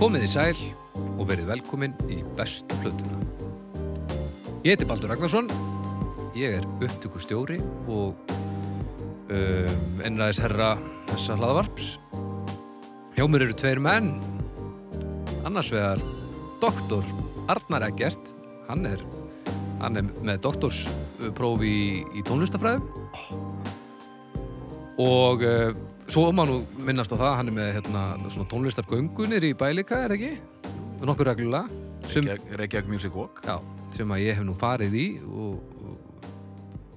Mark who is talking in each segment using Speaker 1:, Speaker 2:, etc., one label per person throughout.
Speaker 1: Komið í sæl og verið velkomin í bestu plötuna. Ég heiti Baldur Ragnarsson, ég er upptökustjóri og um, einræðis herra þessa hlaðvarps. Hjá mér eru tveir menn, annars vegar doktor Arnar Eggert, hann er, hann er með doktorsprófi í, í tónlistafræðum og uh, svo má nú minnast á það, hann er með hérna, svona tónlistargöngunir í bælika, er ekki? Nokkur reglulega sem,
Speaker 2: Reykjavík Reykjavík Music Walk
Speaker 1: já, sem að ég hef nú farið í og, og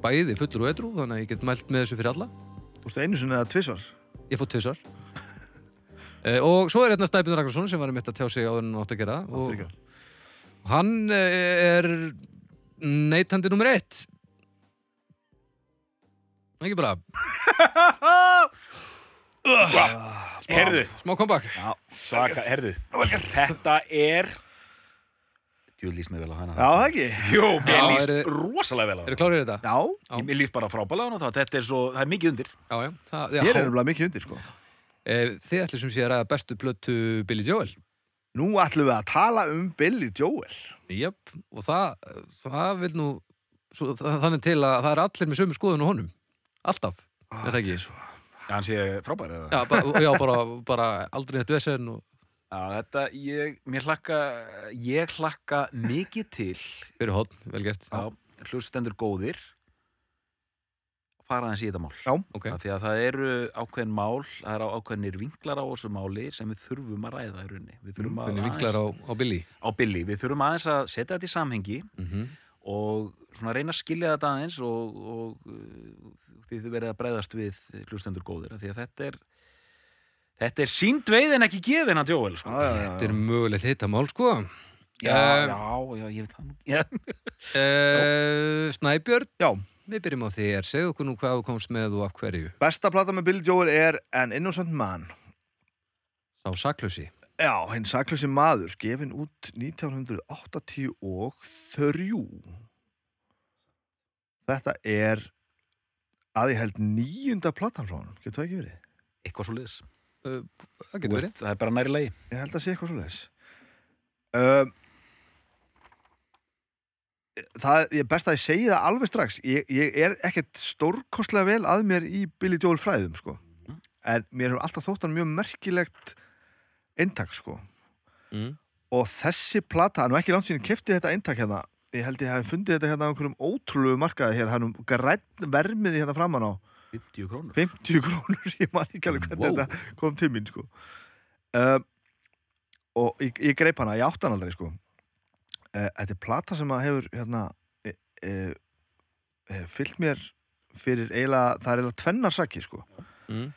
Speaker 1: bæði fullur og edru þannig að ég get mælt með þessu fyrir alla
Speaker 3: Þú veist, einu sinni eða tvissvar
Speaker 1: ég fótt tvisar uh, og svo er hérna Stæbjörn Ragnarsson sem var mitt að tjá sig áður en átt að gera það og, Hann eh, er neytandi nummer eitt Ekki bara
Speaker 2: Herðu,
Speaker 1: Smá comeback
Speaker 2: svaka, herðu Þetta er Jú, líst mér vel á hana
Speaker 3: Já, það ekki
Speaker 2: Jú, mér
Speaker 1: Já,
Speaker 2: líst
Speaker 1: eru-
Speaker 2: rosalega vel á
Speaker 1: Eru
Speaker 2: hana
Speaker 1: klárið þetta?
Speaker 3: Já,
Speaker 1: Já.
Speaker 2: Mér líst bara frábælega á hana og það Þetta er svo, það er mikið undir
Speaker 1: Já, já, það, já.
Speaker 3: ég er nefnilega mikið undir sko
Speaker 1: Eh, Þið ætlum sem sé að ræða bestu plötu Billy Joel
Speaker 3: Nú ætlum við að tala um Billy Joel
Speaker 1: Jöp, og það, það vil nú svo, það, Þannig til að það er allir með sömu skoðun og honum Alltaf, er það ekki?
Speaker 3: svo
Speaker 2: Já, hann sé frábæra
Speaker 1: Já, ba já bara, bara aldrei neitt vesen og
Speaker 2: Já, þetta, ég, mér hlakka Ég hlakka mikið til
Speaker 1: fyrir hótt, vel gert
Speaker 2: Já, hlustendur góðir Fara aðeins í þetta mál
Speaker 3: Já,
Speaker 1: ok.
Speaker 2: Af Því að það eru ákveðin mál Það eru ákveðinir vinklar á þessu máli sem við þurfum að ræða í rauninni Við þurfum að
Speaker 1: Mm, Hvernig vinklar á, á Billy
Speaker 2: á Billy. Við þurfum aðeins að setja þetta í samhengi
Speaker 1: mm
Speaker 2: og svona reyna að skilja þetta aðeins og, og uh, því þið verið að bregðast við hlustendur góðir af því að þetta er þetta er sínd veið en ekki gefin að Jóel sko.
Speaker 3: já, já, já,
Speaker 1: Þetta er mögulegt hittamál, sko
Speaker 2: já,
Speaker 1: um,
Speaker 2: já, já, ég veit það nú. já.
Speaker 1: Uh, Snæbjörn,
Speaker 3: já
Speaker 1: við byrjum á þér segðu okkur nú hvað þú komst með og af hverju
Speaker 3: Besta plata með Billy Joel er An Innocent Man
Speaker 1: Sá saklösi
Speaker 3: Já, hinn saklusi maður gefin út 1983 Þetta er að ég held níunda platan frá honum Getur það ekki verið?
Speaker 2: eitthvað svo liðs
Speaker 1: Það getur verið
Speaker 2: það er bara næri lagi
Speaker 3: Ég held að sé eitthvað svo leiðis um, Það ég er best að ég segi það alveg strax Ég, ég er ekkert stórkostlega vel að mér í Billy Joel fræðum sko. En mér hefur alltaf þótt hann mjög merkilegt eintak sko.
Speaker 1: mm.
Speaker 3: Og þessi plata, nú ekki langt síðan ég kefti þetta eintak hérna Ég held ég hafi fundið þetta hérna á einhverjum ótrúlegu markaði hér, hann um grænn vermiði hérna framan á
Speaker 2: 50 krónur
Speaker 3: 50 krónur, ég man ekki alveg hvernig
Speaker 1: Wow.
Speaker 3: þetta kom til mín sko. um, og ég, ég greip hana ég átti hann aldrei sko. uh, þetta er plata sem að hefur hérna, e, e, e, fyllt mér fyrir eiginlega, það er eiginlega tvennar saki sko.
Speaker 1: Mm.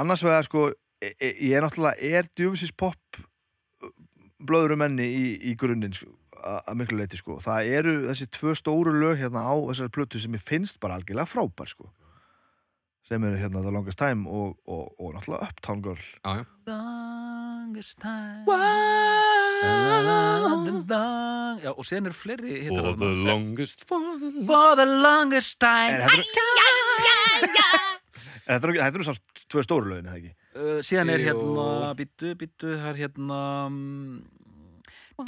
Speaker 3: annars vegar sko, e, e, ég er náttúrulega er djöfisins popp blöðurum enni í, í grunninn sko, að að miklu leiti sko. það eru þessi tvö stóru lög hérna á þessari plötu sem ég finnst bara algjörlega frábær sko sem eru hérna The Longest Time og, og, og náttúrulega Uptown Girl
Speaker 1: Já, já.
Speaker 2: longest time wow. long. já, og síðan er fleiri hittar þarna.
Speaker 1: longest for the longest
Speaker 2: for the longest
Speaker 3: En
Speaker 2: time
Speaker 3: þetta eru- En þetta eru- þetta eru samt tvö stóru lögin, eða ekki?
Speaker 2: uh, síðan er
Speaker 1: Jú.
Speaker 2: hérna býttu, býttu, það er hérna mm,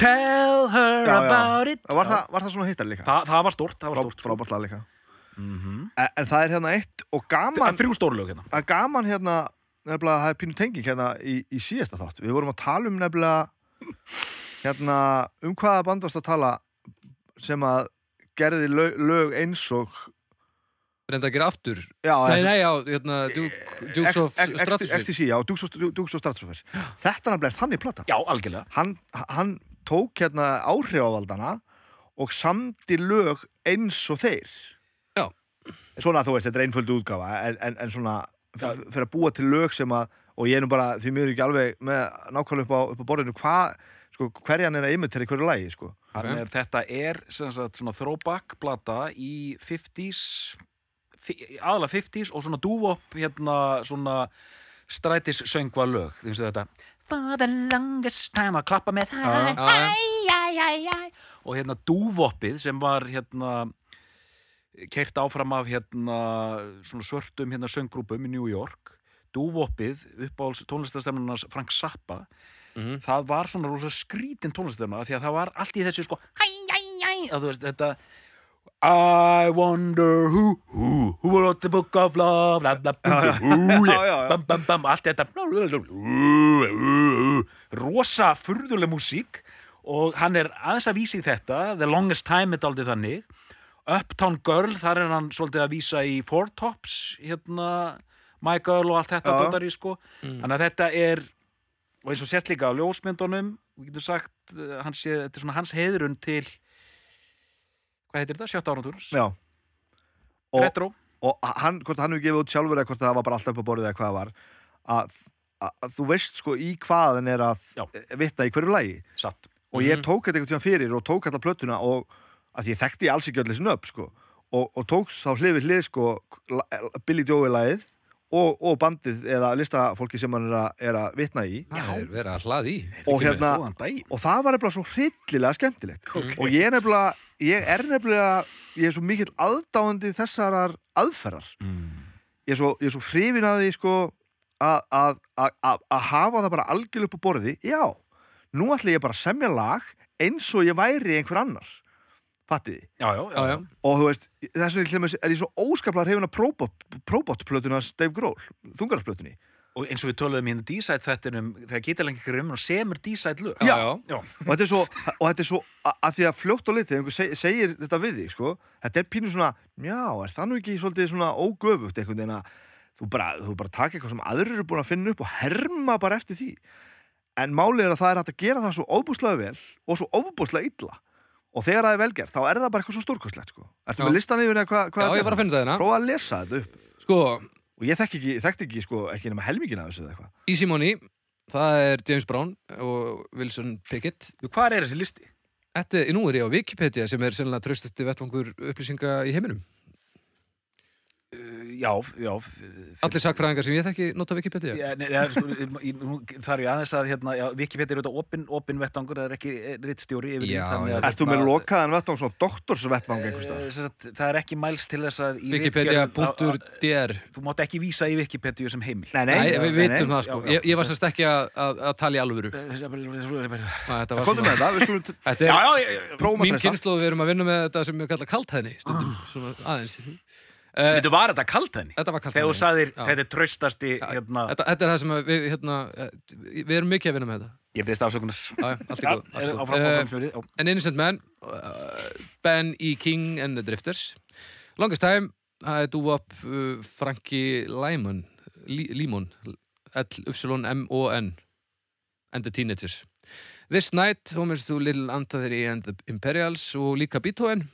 Speaker 2: tell her
Speaker 3: Já, já.
Speaker 2: about it
Speaker 3: Var, það, var það Mhm. svona hittar líka?
Speaker 2: Þa, það var stórt, það var stórt
Speaker 3: Frá, frábært lag líka
Speaker 2: mm
Speaker 3: en, en það er hérna eitt og gaman
Speaker 2: þrjú stórlög hérna
Speaker 3: Það er gaman hérna nefnilega, það er pínu tenging hérna í, í síðasta þátt Við vorum að tala um nefnilega hérna, um hvaða band varst að tala sem að gerði lög, lög eins og
Speaker 1: Reynda að gera aftur
Speaker 3: Já,
Speaker 1: Nei,
Speaker 3: þessi-
Speaker 1: nei, já, hérna, Duke, Dukes of
Speaker 3: Ex- ex-
Speaker 1: Stratosphere
Speaker 3: XTC, já, Dukes of- Dukes of Stratosphere Þetta nefnilega er þannig plata
Speaker 2: já, algjörlega
Speaker 3: hann, hann tók hérna áhrifavaldana og samdi lög eins og þeir
Speaker 1: Já.
Speaker 3: svona þú veist, þetta er einföldu útgafa en, en, en svona f-
Speaker 2: Já.
Speaker 3: f- fyrir að búa til lög sem að og ég er nú bara, því mér er ekki alveg með nákvæmlega upp á, upp á borðinu hvað sko, hverjan er að imitera í hverju lagi sko.
Speaker 2: okay. er, eh, þetta er sem sagt svona throwback blata í 50s fi- aðalega 50s og svona dúvop hérna svona strætis söngva lög þú veist þetta for the longest time að klappa með hæ
Speaker 1: Já, já.
Speaker 2: og hérna dúvoppið sem var hérna kert áfram af hérna svona svörtum hérna söngrúpum í New York dúvoppið uppáhalds tónlistastemnunars Frank Zappa
Speaker 1: Mhm.
Speaker 2: það var svona rosa skrítin tónlistastemna því að það var allt í þessu sko hæ, hæ, hæ, að þú veist þetta I wonder who, who, who wrote the book of love bla, bla, bla, bla, who,
Speaker 3: Já, já, já.
Speaker 2: yeah, bam, bam, bam, allt þetta bla, bla, bla, bla, bla, bla. rosa furðuleg músík og hann er aðeins að vísa í þetta The Longest Time er aldrei þannig Uptown Girl, þar er hann svolítið að vísa í Four Tops hérna, My Girl og allt þetta
Speaker 3: Já.
Speaker 2: dotari, sko. þannig að þetta er og eins og sért líka á ljósmyndunum við getum sagt, eh, hann sé, þetta er svona hans heiðrun til hvað heitir þetta, sjötta árantúrans
Speaker 3: já og,
Speaker 2: Retro,
Speaker 3: og hann, hvort hann hefur gefið út sjálfur eða hvort það var bara alltaf upp á borðið eða hvað það var að, að, að þú veist sko í hvað hann er að
Speaker 2: Já.
Speaker 3: vitna í hverju lagi
Speaker 2: satt
Speaker 3: og ég tók þetta einhvern tíma fyrir og tók alla plötuna og að ég þekkti alls ekki öll þessi nöpp sko og, og tók þá hlið við hlið sko la- Billy Joel lagið og, og bandið eða listafólki sem hann er, a, er að vitna í
Speaker 1: Það er verið að hlaði í.
Speaker 3: og hérna
Speaker 2: góðan daginn
Speaker 3: og það var nefnilega svo hryllilega skemmtilegt og ég er nefnilega ég er nefnilega, ég er svo mikill aðdáandi þessarar aðferðar ég er svo, ég er svo hrifin að því sko að- að að- að að hafa það bara algjörlega upp á borði já, nú ætla ég bara að semja lag eins og ég væri einhver annar fattiði,
Speaker 2: já, já, já,
Speaker 1: Já, já.
Speaker 2: já.
Speaker 3: og þú veist þess vegna til dæmis er ég svo óskaplega hrifin að próbott-plötuna Dave Grohl þungararplötunni,
Speaker 2: og eins og við töluðum hérna D-side þettinum þegar geta lengi grimmin og semur D-side lög
Speaker 1: Já,
Speaker 3: Já.
Speaker 1: já.
Speaker 2: já,
Speaker 3: og þetta er svo, og þetta er svo að, að því að fljótt á litið, einhver seg, segir þetta við þig sko, þetta er pínu svona já, er það nú ekki svolítið svona ógöfugt einhvern veginn að þú bara, þú bara taka eitthvað sem aðrir eru búin að finna upp og herma bara eftir því en málið er að það er hægt að gera það svo ofbúslega vel og svo ofbúslega illa og þegar það er velgerð, þá er það bara eitthvað svo stórkostlegt sko. Ertu
Speaker 1: Já.
Speaker 3: með listan yfir eða hvað hva
Speaker 1: Já, ég var að finna það hérna.
Speaker 3: Prófa að lesa þetta upp
Speaker 1: Sko,
Speaker 3: og ég þekki ekki, þekkti ekki, sko, ekki nema helmingina þessu eða eitthvað
Speaker 1: í Simóni, það er James Brown og Wilson Pickett.
Speaker 2: Jú, hvað er þessi listi?
Speaker 1: Þetta, nú er ég á Wikipedia sem er sennilega tröstusti vettvangur upplýsinga í heiminum.
Speaker 2: Uh, já, já f-
Speaker 1: Allir sakfræðingar sem ég þekki nota Wikipedia.
Speaker 2: Já, nei, ja, sko, í- nú þarf ég aðeins að hérna, já, Wikipedia er auðvitað opin, opin vettangur það er ekki eh, ritstjóri yfir því,
Speaker 1: Já,
Speaker 2: þannig
Speaker 1: já.
Speaker 2: að,
Speaker 3: Ertu með
Speaker 2: hérna,
Speaker 3: lokaðan vettvang, svona doktorsvettvang
Speaker 2: eh,
Speaker 3: einhvers staðar?
Speaker 2: sem sagt, það er ekki mæls til þess að í ritgerð- að-
Speaker 1: Wikipedia.dr
Speaker 2: að- þú mátt ekki vísa í Wikipedia sem heimil
Speaker 3: Nei, nei,
Speaker 1: Nei, við
Speaker 3: nei, nei.
Speaker 1: vitum það sko.
Speaker 2: Já, já.
Speaker 1: Ég, ég var sérst ekki að, að, að tala í alvöru. Æ,
Speaker 2: já,
Speaker 1: Þetta var svona,
Speaker 3: Komdu með það, við skulum t-
Speaker 1: þetta er
Speaker 2: já, já, já.
Speaker 3: prófum að
Speaker 1: mín
Speaker 3: treysta.
Speaker 1: kynnslóð við erum að vinna með þetta sem við kalla kaltæðni stundum, svona aðeins.
Speaker 2: Þetta var þetta kalt henni
Speaker 1: Eh, Þetta var
Speaker 2: Ah. Þegar þú
Speaker 1: kaltæðni.
Speaker 2: sagðir
Speaker 1: Já.
Speaker 2: þetta er traustasti hérna,
Speaker 1: Þetta, þetta er það sem að við, hérna, eh, við erum mikið að vinna með þetta.
Speaker 2: Ég byrðist afsökunar
Speaker 1: Já, já, Allt í
Speaker 2: Já,
Speaker 1: góð. allt í
Speaker 2: er-
Speaker 1: góð.
Speaker 2: áfram-
Speaker 1: Eh,
Speaker 2: áfram smjörið, já.
Speaker 1: An Innocent Man uh, Ben E. King and the Drifters Longest Time það er dúvap uh, Frankie Lyman Lí- Límon L-Y-M-O-N and the Teenagers This Night, Homer's to Little Antathery and the Imperials og líka Beethoven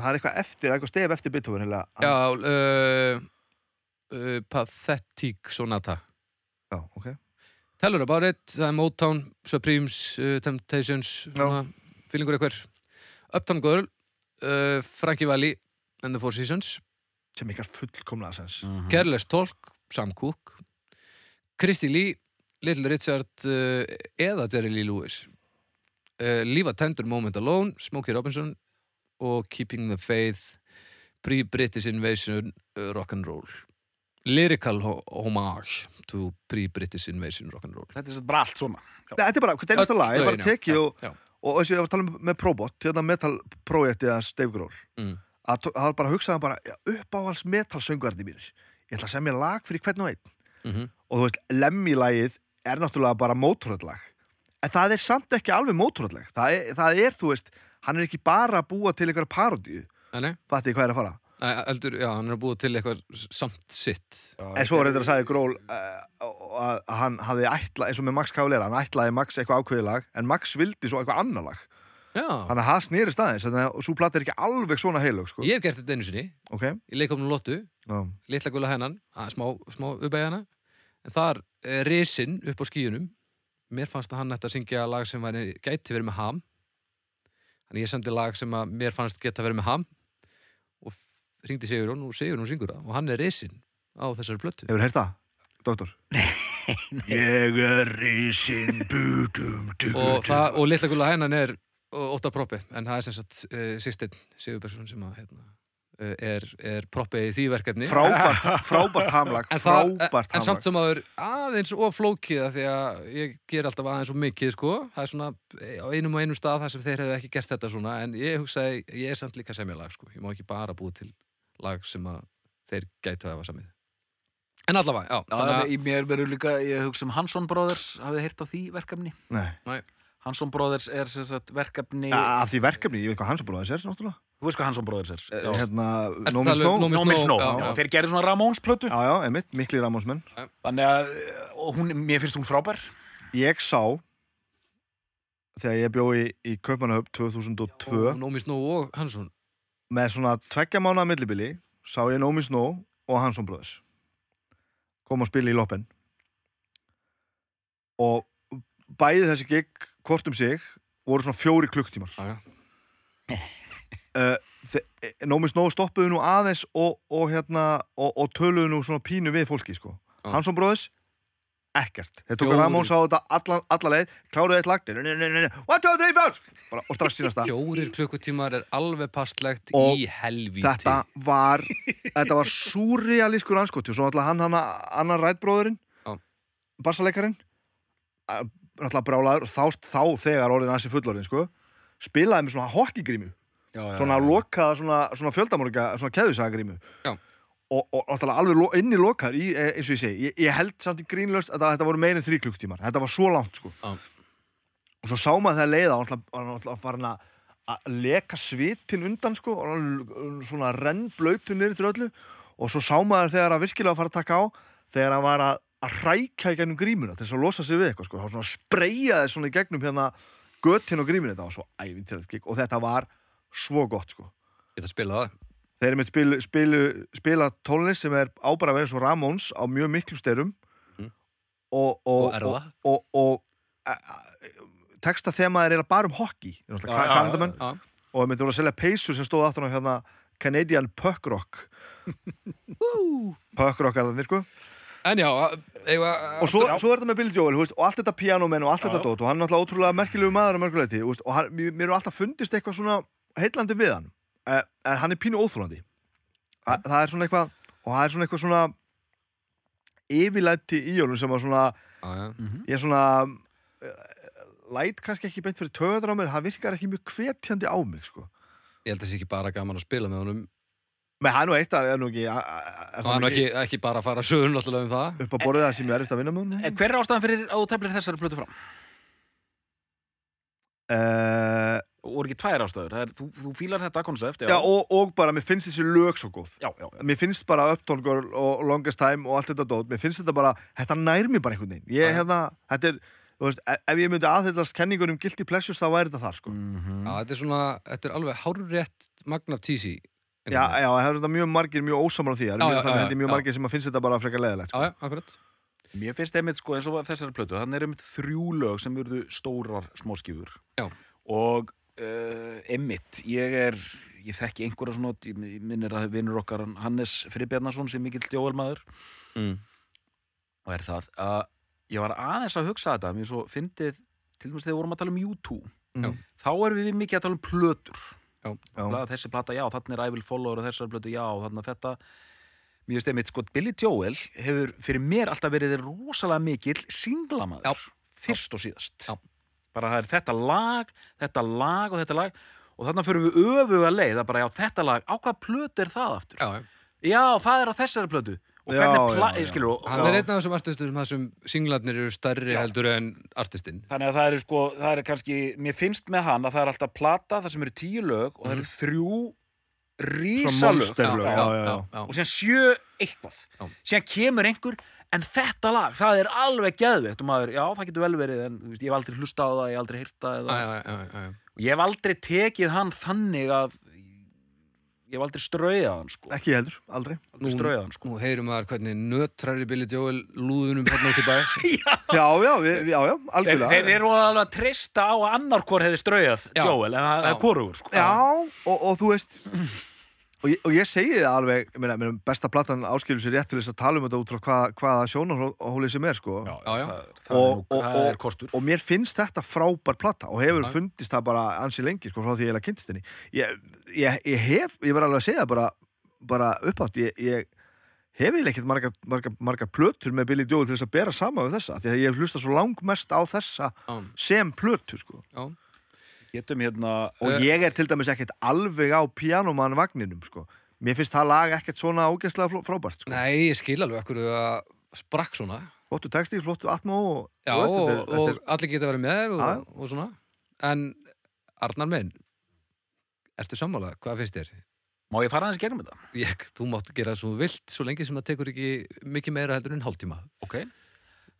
Speaker 3: Það er eitthvað eftir, eitthvað stef eftir Beethoven heila.
Speaker 1: Já, uh, uh, Pathetic Sonata
Speaker 3: Já, ok.
Speaker 1: Tell her about it, það er Motown, Supremes, uh, Temptations, svona, fílingur eitthver. Uptown Girl, uh, Frankie Valli and the Four Seasons,
Speaker 3: Sem ykkar fullkomlega sens.
Speaker 1: Mhm.
Speaker 2: Mhm.
Speaker 1: Careless Talk, Sam Cooke, Kristi Lee, Little Richard uh, eða Jerry Lee Lewis. Uh, Leave a Tender Moment Alone, Smokey Robinson og Keeping the Faith, Pre-British Invasion, uh, Rock'n'Roll. Lyrical ho- homage to pre-British invasion rock'n'roll.
Speaker 2: Þetta er satt bara allt svona
Speaker 3: Þetta er bara, hvernig einasta lag, ég bara
Speaker 1: Öll lögin, já,
Speaker 3: tekið
Speaker 1: já,
Speaker 3: og,
Speaker 1: já.
Speaker 3: og þessi, ég var að tala um með Probot, hérna metalprojektið hans Dave Grohl.
Speaker 1: Mm.
Speaker 3: Að tó- Það var bara að hugsa hann bara, já, uppáhalds metalsöngarni mínir. Ég ætla að semja lag fyrir hvern og einn.
Speaker 1: Mhm.
Speaker 3: Og þú veist, Lemmy-lagið er náttúrulega bara mótoröðlag. En það er samt ekki alveg mótoröðlag. Það, er- það er, þú veist, hann er ekki bara að búa til einhverja parodíu.
Speaker 1: Þannig?
Speaker 3: Fattiði hvað er að fara?
Speaker 1: Nei, eldur, já, hann er að búa til eitthvað samt sitt
Speaker 3: En svo reyndar að sagði Gról uh, að að hann hafði ætla, eins og með Max Cavalera, hann ætlaði Max eitthvað ákveðið lag, en Max vildi svo eitthvað annar lag.
Speaker 1: Já,
Speaker 3: Þannig að það snýri staðins, þannig að svo platt er ekki alveg svona heilög, sko.
Speaker 1: ég hef gert þetta einu sinni
Speaker 3: Ok?
Speaker 1: Ég leik um Lottu,
Speaker 3: Já.
Speaker 1: litla gula hennan að, smá, smá uppæði hana en þar er risinn upp á skíunum mér fannst að hann ætti að syngja lag sem væri, gæti verið með ham þannig ég sendi lag sem að mér fannst geta verið með ham og ringdi Sigurjón og Sigurjón syngur það og hann er risinn á þessari plötu
Speaker 3: Hefur heyrt það, doktor? Nei, nei. Ég er risin bútum
Speaker 1: og, það, og litla gula hennan er Óta Proppi en það er eh, sem sagt uh, Sistinn Sigurbjörnsson sem að hérna, eh, er, er proppið í því verkefni
Speaker 3: frábært, frábært hamlag
Speaker 1: en, það,
Speaker 3: frábært
Speaker 1: en samt
Speaker 3: hamlag
Speaker 1: sem aður aðeins og flókið af því að ég ger alltaf aðeins og mikið sko. það er svona á einum og einum stað þar sem þeir hefðu ekki gert þetta svona en ég hugsaði, ég er samt líka að semja lag sko. ég má ekki bara búið til lag sem að þeir gætu að hafa samið en allavega, já,
Speaker 2: Þannig að í mér verður líka, ég hugsa um Hansson Brothers, hafið heyrt á því verkefni?
Speaker 3: Nei.
Speaker 1: Nei,
Speaker 2: Hansson Brothers er sem sagt verkefni,
Speaker 3: Ja, af því verkefni, ég veit hvað hans bróðis er náttúrulega
Speaker 2: þú veist hvað Hansson Brothers er?
Speaker 3: Eh, hérna,
Speaker 1: Ertu
Speaker 3: No
Speaker 1: að
Speaker 3: Means
Speaker 1: tala um
Speaker 3: No
Speaker 1: No Means
Speaker 2: Nómi Snó,
Speaker 1: já,
Speaker 2: já,
Speaker 1: já.
Speaker 2: þeir gerir svona Ramóns plötu
Speaker 3: já, já, emitt, mikli Ramónsmenn
Speaker 2: Þannig að, eh, og hún, mér finnst hún frábær
Speaker 3: ég sá þegar ég bjó í, í Kaupmannahöfn 2002
Speaker 1: og Nómi Snó og Hansson
Speaker 3: með svona tveggja mánuða millibili sá ég Nómi Snó og Hansson Brothers kom að spila í loppen og bæði þessi gig hvort um sig voru svona fjóri klukktímar
Speaker 1: já, já.
Speaker 3: uh, Nómi Snó stoppuðu nú aðeins og, og, hérna, og, og töluðu nú svona pínu við fólki sko.
Speaker 1: Já.
Speaker 3: Hansson Brothers ekkert, þeir tók
Speaker 1: Fjórir.
Speaker 3: að Ramón sá þetta alla, alla leið, kláruðu eitt lag 1, 2, 3, 4 Bara- og strax sínast það
Speaker 1: fjórir klukkutímar er alveg pastlegt
Speaker 3: Og
Speaker 1: í helvíti
Speaker 3: þetta var þetta var súrealískur anskoti og svo náttúrulega hann hann annar rætbróðurinn
Speaker 1: Já.
Speaker 3: bassaleikarinn að- náttúrulega brálaður og þá, þá þegar orðin aðeins fullorðin sko spilaði með svona hokkigrímu
Speaker 2: já, já,
Speaker 3: svona lokaða svona, svona fjöldamorga svona keðusagrímu
Speaker 1: Já.
Speaker 3: og, og náttúrulega alveg lo, inn í lokar í, eh, eins og ég segi, ég, ég held samt í grínlöst að það- þetta voru meirinn þrý klukktímar, þetta var svo langt sko.
Speaker 1: Já.
Speaker 3: og svo sá maður það leiða og náttúrulega- var náttúrulega farin að að leka svitin undan sko, og hann svona renn blöytu niður til öllu og svo sá maður þegar að virkilega fara að taka á þegar hann var að, að hrækja í gegnum grímuna til þess að losa sig við eitthvað sko. þá svona spreyjaði svona í gegnum hérna götin og grímuna, þetta var svo ævintilegt gig og þetta var svo gott sko
Speaker 1: Ég ætla að spila það
Speaker 3: Þeir eru með spilu, spilu, spila tónlist sem er á bara að vera eins og Ramóns á mjög miklum styrum og, og,
Speaker 1: Og erða.
Speaker 3: og, og, og texta þema er eiginlega bara um hockey Þeir eru náttúrulega
Speaker 2: Já,
Speaker 3: ka-
Speaker 2: já,
Speaker 3: Kanadamenn
Speaker 1: Já,
Speaker 3: og þeir myndi voru að selja peysur sem stóð aftur á hérna Canadian Puck Rock Puck Rock er það sko
Speaker 1: En já, eiga
Speaker 3: og svo, svo er þetta með Bill Joel þú veist, og allt þetta pianomenn og allt þetta dót og hann er náttúrulega ótrúlega merkilegu maður að mörguleiti og hann, mér mér hefur alltaf fundist eitthvað svona heillandi við hann Eh, en hann er pínu óþrólandi það, það er svona eitthvað og það er svona eitthvað svona yfirlæti í jólum sem að svona ég er svona eh, læt kannski ekki beint fyrir töður á mér það virkar ekki mjög hvetjandi á mig sko
Speaker 1: Ég held að það sé ekki bara gaman að spila með honum
Speaker 3: menn hann og eitt að er nú ekki er
Speaker 1: Og hann er ekki, ekki bara að fara sögur náttúrulega um það
Speaker 3: upp að borða það sem ég er eftir að vinna með
Speaker 2: En
Speaker 3: hún
Speaker 2: hver er ástæðan fyrir að þú teflir þessari plötu fram?
Speaker 3: uh,
Speaker 2: Og eru ekki tvær ástæður, það er, þú, þú fílar þetta konsept
Speaker 3: já, og, og bara mér finnst þessi lög svo góð
Speaker 2: já, já, já.
Speaker 3: mér finnst bara Uptown Girl og Longest Time og allt þetta dót, mér finnst þetta bara þetta nær mér bara einhvern veginn ég,
Speaker 1: Já.
Speaker 3: hérna, þetta er, þú veist, e- ef ég myndi aðhyllast kenningunum Guilty Pleasures þá væri þetta þar
Speaker 1: Mm.
Speaker 3: sko.
Speaker 2: Mhm.
Speaker 1: Já, þetta er svona, þetta er alveg hárrétt Magna Tísi
Speaker 3: já, eh. já, það eru þetta mjög margir mjög ósamar á því, það
Speaker 1: Já,
Speaker 3: eru mjög,
Speaker 1: já,
Speaker 3: þannig
Speaker 1: já,
Speaker 3: held ég mjög
Speaker 1: já.
Speaker 3: margir sem að finnst þetta bara frekar
Speaker 1: já,
Speaker 3: leðilegt sko.
Speaker 1: já, akkurat
Speaker 2: Mér finnst einmitt sko eins og að þessari plötu Þannig er einmitt þrjú lög sem eru stórar smáskjúfur
Speaker 1: Já.
Speaker 2: Og uh, einmitt, ég er Ég þekki einhverja svona Ég ég minnir að vinnur okkar hann Hannes Friðbjarnason sem mikill djóðalmaður
Speaker 1: mm.
Speaker 2: Og er það að Ég var aðeins að hugsa þetta Mér svo fyndið, til dæmis þegar við vorum að tala um YouTube
Speaker 3: Mhm.
Speaker 2: Þá erum við mikið að tala um plötur
Speaker 3: Já.
Speaker 2: plata, þessi plata, já, þannig er I Will Follow og þessar plötu, já, þannig að þetta mér veist einmitt, sko, Billy Joel hefur fyrir mér alltaf verið rosalega mikill singlamaður,
Speaker 1: Já.
Speaker 2: fyrst og síðast
Speaker 1: Já.
Speaker 2: bara það er þetta lag, þetta lag og þetta lag og þannig fyrir við öfuga leið að bara, já, þetta lag, á hvaða plötu er það aftur?
Speaker 1: já, já.
Speaker 2: Já, það er á þessari plötu og
Speaker 3: Já,
Speaker 2: hvernig pla,
Speaker 3: já, já.
Speaker 2: skilur, og,
Speaker 1: Hann er einn af þessum artistum þar sem singlarnir eru stærri heldur en artistinn
Speaker 2: Þannig að það eru sko, það eru kannski, mér finnst með hann að það er alltaf plata, það sem eru tíu lög og það
Speaker 1: Mhm.
Speaker 2: eru þrjú
Speaker 3: Svona
Speaker 2: rísalög
Speaker 3: monsterlög, já, já, já.
Speaker 2: og síðan sjö eitthvað
Speaker 1: Já.
Speaker 2: síðan kemur einhver en þetta lag, það er alveg geðveitt og maður, já það getur vel verið en þú veist, ég hef aldrei hlustað á það, ég hef aldrei hýrta
Speaker 1: Já,
Speaker 2: eða...
Speaker 1: já, já, já, já.
Speaker 2: og ég hef aldrei tekið hann þannig að ég hef aldrei strauðað hann sko,
Speaker 3: ekki heldur, aldrei
Speaker 2: aldrei strauðað hann sko
Speaker 1: Nú heyrum maður hvernig nötrari Billy Joel lúðunum hann út í bæ
Speaker 3: já, já, við, við- já, já,
Speaker 2: þeir, þeir
Speaker 3: algjörlega
Speaker 2: eru alveg að treysta á að annar hvort hefði strauðað
Speaker 1: Já.
Speaker 2: Joel, en það það
Speaker 1: Já.
Speaker 2: er korugur sko
Speaker 3: já, og, og þú veist og ég, og ég segi það alveg ég meina, ég meina, besta platan áskilur sér rétt til þess að tala um þetta út frá hva, hvaða sjónahólið sem er sko.
Speaker 1: Já, já.
Speaker 2: Það, það, og, er, nú,
Speaker 3: Og-
Speaker 2: það
Speaker 3: og-
Speaker 2: er kostur
Speaker 3: og mér finnst þetta frábær plata og hefur
Speaker 1: Já.
Speaker 3: fundist það bara ansi lengi sko, frá því ég heila kynst henni ég, ég, ég hef, ég var alveg að segja það bara, bara uppátt ég, ég hef eiginlega ekkert margar, margar, margar plötur með Billy Joel til þess að bera sama við þessa því að ég hef hlustað svo langmest á þessa
Speaker 1: Já.
Speaker 3: sem plötu sko
Speaker 1: já.
Speaker 2: getum hérna
Speaker 3: og ég er til dæmis ekkert alveg á pianoman vagninum sko mér finnst það lag ekkert svona ágæslega fló- frábært sko.
Speaker 1: Nei, ég skil alveg ekkur að sprakk svona
Speaker 3: flottu texti, flottu atmo og,
Speaker 1: Já, og,
Speaker 3: og, þetta
Speaker 1: og,
Speaker 3: er- þetta er-
Speaker 1: allir geta verið með
Speaker 3: Já, já.
Speaker 1: og, og svona En Arnar minn Ertu sammála? Hvað finnst þér?
Speaker 2: má ég fara aðeins í gegnum þetta
Speaker 1: Ég, þú mátt gera svo vilt svo lengi sem það tekur ekki mikið meira heldur en hálftíma
Speaker 2: ok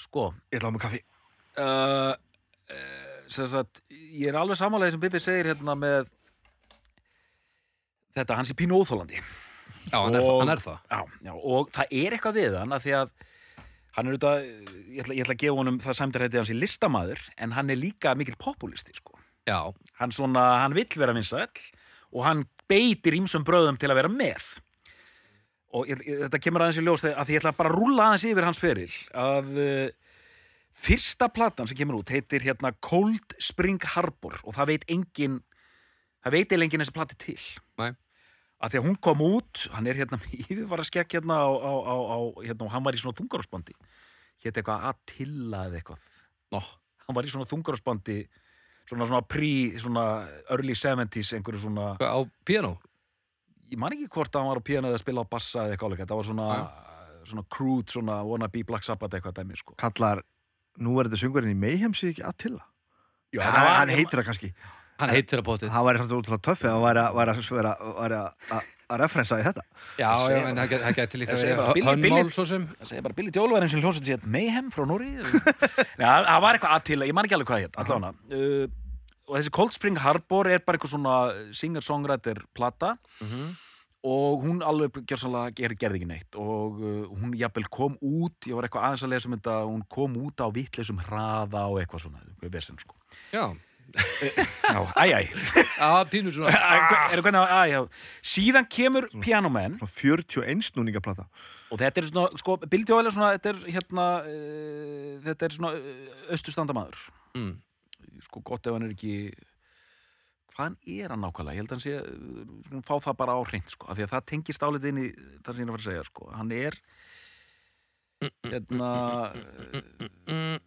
Speaker 2: sko
Speaker 3: ég ætla á mig kaffi
Speaker 2: uh, uh, sem sagt, ég er alveg samanlega sem Bibi segir hérna með þetta hans er pínu óþólandi
Speaker 1: Já, hann er,
Speaker 2: Og-
Speaker 1: hann er það
Speaker 2: já, já, og það er eitthvað við hann að því að hann er auðvitað, ég ætla, ég ætla að gefa honum það samtærætti hans í listamaður en hann er líka mikill populisti sko.
Speaker 1: Já,
Speaker 2: hann, svona, hann vill vera vinsæll og hann beitir ímsum bröðum til að vera með og ég, ég, þetta kemur aðeins í ljós þegar að ég ætla bara að rúlla aðeins yfir hans feril að uh, fyrsta platan sem kemur út heitir hérna Cold Spring Harbor og það veit engin það veit eiginlega engin þessi plati til
Speaker 1: Nei.
Speaker 2: að því að hún kom út hann er hérna með yfirvara skekk hérna, á, á, á, á, hérna og hann var í svona þungarásbandi hétt eitthvað Attila eða eitthvað
Speaker 1: Nó.
Speaker 2: hann var í svona þungarásbandi svona svona pre, svona early 70s einhverju svona,
Speaker 1: á piano
Speaker 2: ég man ekki hvort að hann var á píðan eða að spila á bassa eða eitthvað álega það var svona, svona crude, svona wannabe Black Sabbath eitthvað dæmi sko
Speaker 3: kallar nú er þetta söngurinn í Mayhem sig ekki Attila
Speaker 2: Já,
Speaker 3: hann,
Speaker 2: það
Speaker 3: hann,
Speaker 2: var-
Speaker 3: heitir það kannski
Speaker 1: Hann heitir að
Speaker 2: Ah,
Speaker 1: potið
Speaker 3: það væri samt útrúlega töffið að hann væri að- væri að- væri að- væri að- að- að referensa í þetta
Speaker 1: Já, já, en það gæti- það gæti líka
Speaker 2: Ég segi
Speaker 1: verið
Speaker 2: bara, Billy-
Speaker 1: hönnmál
Speaker 2: Billy-
Speaker 1: svo sem
Speaker 2: það segja bara Billy Joel var eins og hljónsett sér Mayhem frá Núri það það var eitthvað aðtila, ég man ekki alveg hvað hér allavega uh, og þessi Cold Spring Harbor er bara eitthvað svona singer-songwriter plata og hún alveg gjörsanlega ger, gerði ekki neitt og uh, hún jafnvel kom út ég var eitthvað aðeins að lesa um þetta hún kom út á vitleisum hraða og eitthvað svona eitthvað vesen sko
Speaker 1: Já,
Speaker 2: Já, æj, æj,
Speaker 1: að pínu svona
Speaker 2: er það hvernig að, æj, já síðan kemur pianomenn
Speaker 3: Svona 41 snúningaplata
Speaker 2: og þetta er svona, sko, Billy Joel er svona þetta er hérna uh, þetta er svona uh, östustandamaður
Speaker 1: Mm.
Speaker 2: sko gott ef hann er ekki hvaðan er hann nákvæmlega ég held að hann sé, uh, svona, fá það bara á hreint sko, af því að það tengist álið inn í það sem ég er að fara að segja, sko, hann er hérna
Speaker 1: Mm,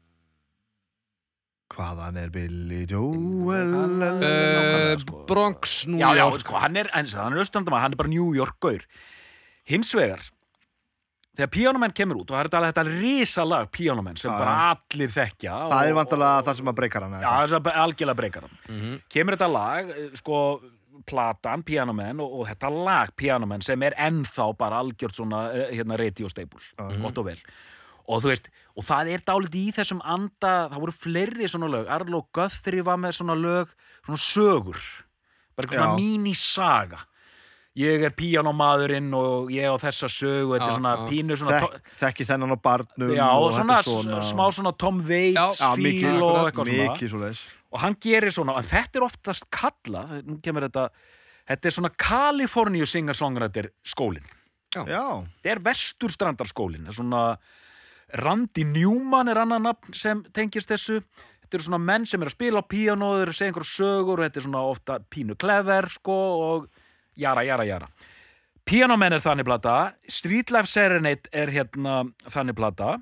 Speaker 3: hvaðan er Billy Joel
Speaker 2: nákvæmlega,
Speaker 1: eh,
Speaker 2: sko.
Speaker 1: Bronx, New
Speaker 3: mm,
Speaker 2: já, já,
Speaker 1: York
Speaker 2: sko, hann er, hann, hann er östandamaður, hann er bara New York gaur hins vegar þegar Pianoman kemur út og það er þetta- þetta risalag Pianoman sem
Speaker 3: Já,
Speaker 2: bara allir þekkja
Speaker 3: það er
Speaker 2: og-
Speaker 3: vantalega það sem að breykar hann
Speaker 2: Já,
Speaker 3: eða
Speaker 2: þess að algjörlega breykar hann.
Speaker 1: Mhm.
Speaker 2: Kemur þetta lag, eh, sko, platan, pianomenn og, og þetta lag, pianomenn, sem er ennþá bara algjört svona, eh, hérna, radiosteipul, gott og vel. Og þú veist, og það er dálítið í þessum anda, það voru fleiri svona lög, Arlo Guthrie var með svona lög, svona sögur, bara eitthvað svona
Speaker 3: Já.
Speaker 2: mínisaga. Ég er píanomaðurinn og ég á þessa sögu, þetta er
Speaker 1: Já,
Speaker 2: svona
Speaker 1: já.
Speaker 2: pínu svona...
Speaker 3: eitthvað.
Speaker 2: to-
Speaker 3: Þekk- þekki þennan á barnum
Speaker 2: Já,
Speaker 3: og
Speaker 2: og svona,
Speaker 3: þetta er
Speaker 2: svona smá svona Tom Waits
Speaker 1: Já,
Speaker 3: Já,
Speaker 2: fíl
Speaker 3: mikið,
Speaker 2: og eitthvað svona
Speaker 3: mikið svo leis
Speaker 2: og hann gerir svona, en þetta er oftast kallað, nú kemur þetta þetta er svona Kaliforníu singarsongrættir skólin,
Speaker 3: já,
Speaker 2: þetta er vesturstrandarskólin þetta er svona Randy Newman er annan nafn sem tengist þessu þetta eru svona menn sem er að spila á píanó þeir eru að segja einhverja sögur og þetta er svona ofta pínu klever sko og jara, jara, jara Pianomenn er þannig plata, Street Life Serenade er hérna þannig plata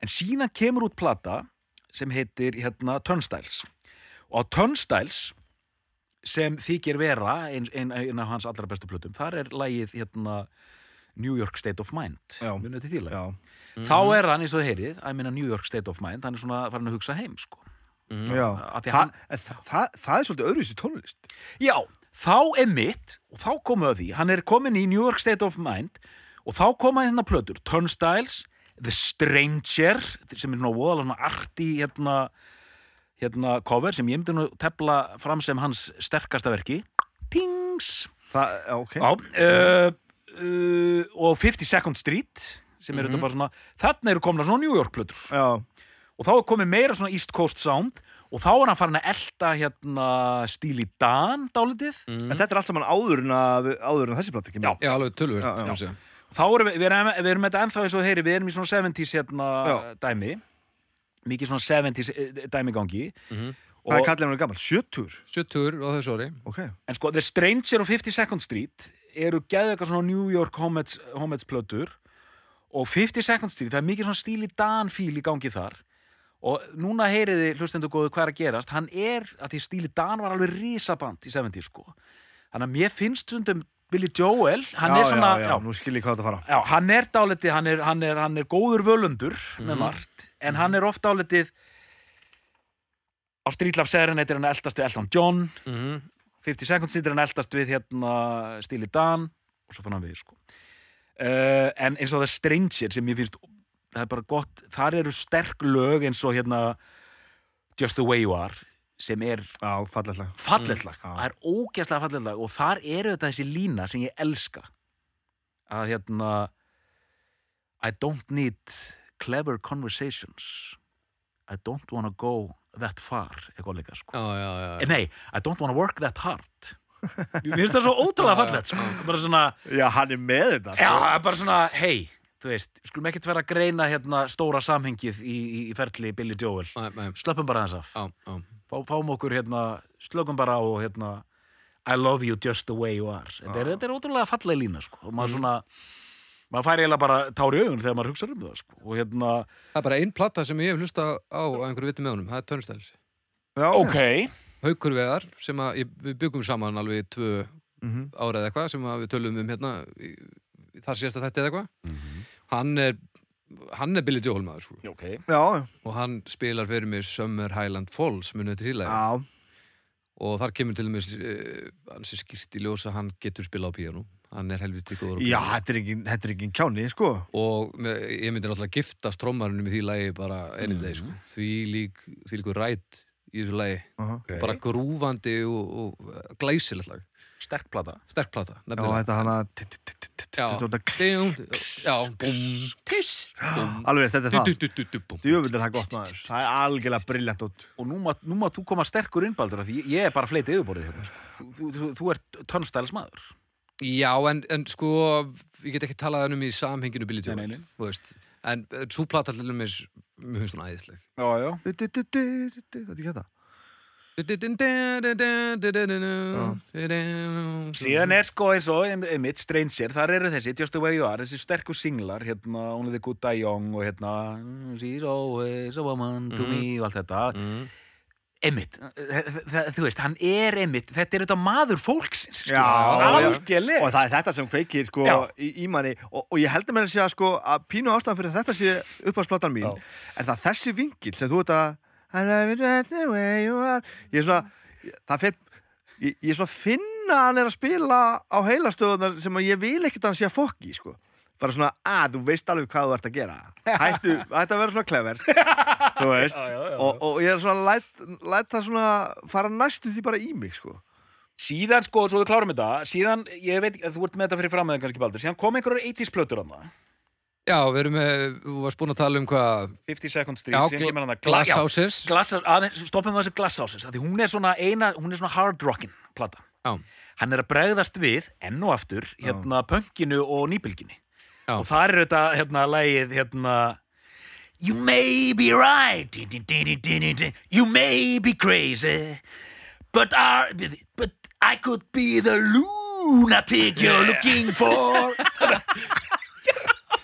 Speaker 2: en síðan kemur út plata sem heitir hérna Turnstiles og á Turnstiles sem þykir vera einn ein, ein af hans allra bestu plötum þar er lagið hérna New York State of Mind
Speaker 3: Já.
Speaker 2: Munið þið því lagi?
Speaker 3: já
Speaker 2: þá er hann eins og þið heyrið að minna New York State of Mind hann er svona farin að hugsa heim sko.
Speaker 3: Já,
Speaker 2: Af því
Speaker 3: Þa,
Speaker 2: að hann-
Speaker 3: en þa, það, það er svolítið öðruvísi tónlist
Speaker 2: já, þá er mitt og þá komu að því, hann er komin í New York State of Mind og þá koma hérna plötur Turnstiles, The Stranger sem er svona voðalega svona arti hérna, hérna cover sem ég myndi nú tepla fram sem hans sterkasta verki Pings
Speaker 3: Það, já, ok
Speaker 2: Já, uh, uh, og 50 Second Street sem er þetta bara svona, þarna eru komna svona New York plötur
Speaker 3: Já,
Speaker 2: og þá er komið meira svona East Coast sound og þá er hann farin að elta hérna stíli Dan dálitið
Speaker 3: En þetta er allt saman áður en, að, áður en þessi plata kemur
Speaker 1: Já, alveg sko. tölvöld
Speaker 3: Já, já.
Speaker 2: þá erum við, við erum, við erum þetta ennþá eins og heyri, við erum í svona 70s hérna
Speaker 3: Já.
Speaker 2: dæmi mikið svona 70s eh, dæmi í gangi
Speaker 3: Hvað er
Speaker 2: og,
Speaker 3: kallið hann er gammal? 70
Speaker 1: 70 á þessu ári
Speaker 3: Ok
Speaker 2: en sko The Stranger og 50 Second Street eru geðveika svona New York homets, homets plötur og 50 Second Street, það er mikið svona stíli Dan fíl í gangi þar og núna heyriði hlustendur góðu hvað er að gerast hann er, að því stíli Dan var alveg risaband í 70s sko þannig að mér finnst stundum Billy Joel hann
Speaker 3: já,
Speaker 2: er svona,
Speaker 3: já, já, nú skil ég hvað þetta fara
Speaker 2: Já, hann er dálitið, hann er, hann er, hann er góður völundur með
Speaker 3: Mhm.
Speaker 2: margt, en hann er oft dálitið á Street Love Serenade er hann eldast við Elton John,
Speaker 1: Mhm.
Speaker 2: 50 Seconds Street er hann eldast við hérna Stíli Dan og svo fann hann við, sko. Uh, en eins og það Stranger sem ég finnst, það er bara gott, þar eru sterk lög eins og hérna Just the Way You Are sem er
Speaker 3: Já, fallega
Speaker 2: falletlag,
Speaker 3: Mm, já.
Speaker 2: það er ógeðslega falletlag og þar eru þetta þessi lína sem ég elska að hérna I don't need clever conversations I don't wanna go that far eitthvað líka sko
Speaker 1: Já, já, já
Speaker 2: Eh, Nei, I don't wanna work that hard Mér finnst það svo ótrúlega fallegt sko. bara svona,
Speaker 3: Já, hann er með þetta sko.
Speaker 2: já, það er bara svona hei, þú veist, við skulum ekkert vera að greina hérna stóra samhengið í, í, í ferli Billy Joel,
Speaker 1: Nei, nei,
Speaker 2: slöppum bara þess af
Speaker 1: já, já
Speaker 2: Fá, fáum okkur hérna, slökum bara á hérna, I love you just the way you are þetta er, þetta er ótrúlega falleg lína sko. og maður svona maður fær eiginlega bara tár í augun þegar maður hugsa um það sko. og hérna,
Speaker 1: Það er bara einn platta sem ég hef hlusta á á einhverju viti með honum, það er Törnstæls
Speaker 3: já
Speaker 2: ok
Speaker 1: Haukur Veðar, sem að ég, við byggum saman alveg í tvö ára eða eitthvað sem að við tölum um hérna í, í þar sérst að þetta eða eitthvað hann, er, hann er Billy Joel maður sko.
Speaker 2: ok,
Speaker 3: Já,
Speaker 1: og hann spilar fyrir mér Summer Highland Falls munið þetta síðlega
Speaker 3: já
Speaker 1: og þar kemur til mér uh, hann sem skýrt í ljós að hann getur spilað á píanó hann er helviti góður á
Speaker 3: Já,
Speaker 1: píanó.
Speaker 3: þetta er engin, þetta er engin kjáni, sko
Speaker 1: og með, ég myndi náttúrulega giftast trommarunum í því lagi bara enn í dag sko. því lík, því líkur rætt í þessu lagi
Speaker 2: okay.
Speaker 1: bara grúfandi og, og glæsilegt lag
Speaker 2: sterk plata
Speaker 1: sterk plata
Speaker 3: Já,
Speaker 1: nefnilega.
Speaker 3: þetta hana
Speaker 1: Já. Ding, já, búm, tiss, búm,
Speaker 3: Alveg, þetta er það
Speaker 1: du, du, du, du, búm.
Speaker 3: Djöfull er það gott maður Það er algjörlega brillant út
Speaker 2: og nú má, nú má þú koma sterkur innbaldur því ég er bara fleitið yfirborðið hérna, sko. þú, þú, þú ert tónstælis maður
Speaker 1: Já, en, en sko, ég get ekki talað um í samhenginu Billy Joel,
Speaker 2: Nei, nei, nei.
Speaker 1: þú veist, en svo plata til mér, mér finnst hún æðisleg.
Speaker 2: já, já.
Speaker 3: Du- du- du- du- du- du- Þetta er ekki þetta
Speaker 2: síðan er sko eins og ein- einmitt Stranger, þar eru þessi Just the way you are, þessi sterku singlar hérna, Only the good die young og hérna She's always a woman
Speaker 3: Mhm.
Speaker 2: to me og allt þetta
Speaker 1: Mm.
Speaker 2: Emmitt, þú veist, hann er Emmitt, þetta er þetta maður fólksins skilur
Speaker 3: Já,
Speaker 2: við,
Speaker 3: já.
Speaker 2: algjörlega
Speaker 3: Og það er þetta sem kveikir sko,
Speaker 2: Já.
Speaker 3: í, í manni og, og ég heldur með að segja sko, að pínu ástæðan fyrir að þetta sé uppáðsplatan mín
Speaker 2: Já.
Speaker 3: er það þessi vingil sem þú ert að I love it right the way you are. ég er svona það fer ég, ég er svona að finna að hann er að spila á heilastöðunar sem að ég vil ekkert að hann sé að fokki sko. bara svona að þú veist alveg hvað þú ert að gera hættu, hættu að vera svona klever þú veist
Speaker 2: Já, já, já.
Speaker 3: Og, og ég er svona að læt- læt það svona fara næstu því bara í mig sko.
Speaker 2: Síðan sko, svo við klárum þetta Síðan, ég veit, þú ert með þetta fyrir framöðin kannski baldur Síðan kom einhverjar 80s plötur hann
Speaker 1: Já, við erum með, þú varst búin að tala um hvað,
Speaker 2: 50 Second Street,
Speaker 1: já,
Speaker 2: síðan kemur hann að
Speaker 1: Glass Houses,
Speaker 2: Glassás, aðeins, stoppum við þessu Glassásins Því hún er svona eina, hún er svona hard rockin plata
Speaker 1: já,
Speaker 2: Hann er að bregðast við, enn og aftur Hérna, pönkinu og nýbylginni
Speaker 1: Já.
Speaker 2: Og þar er þetta, hérna, lagið, hérna You may be right di- di- di- di- di- di- di- You may be crazy But, are, but I could be the lunatic you're looking for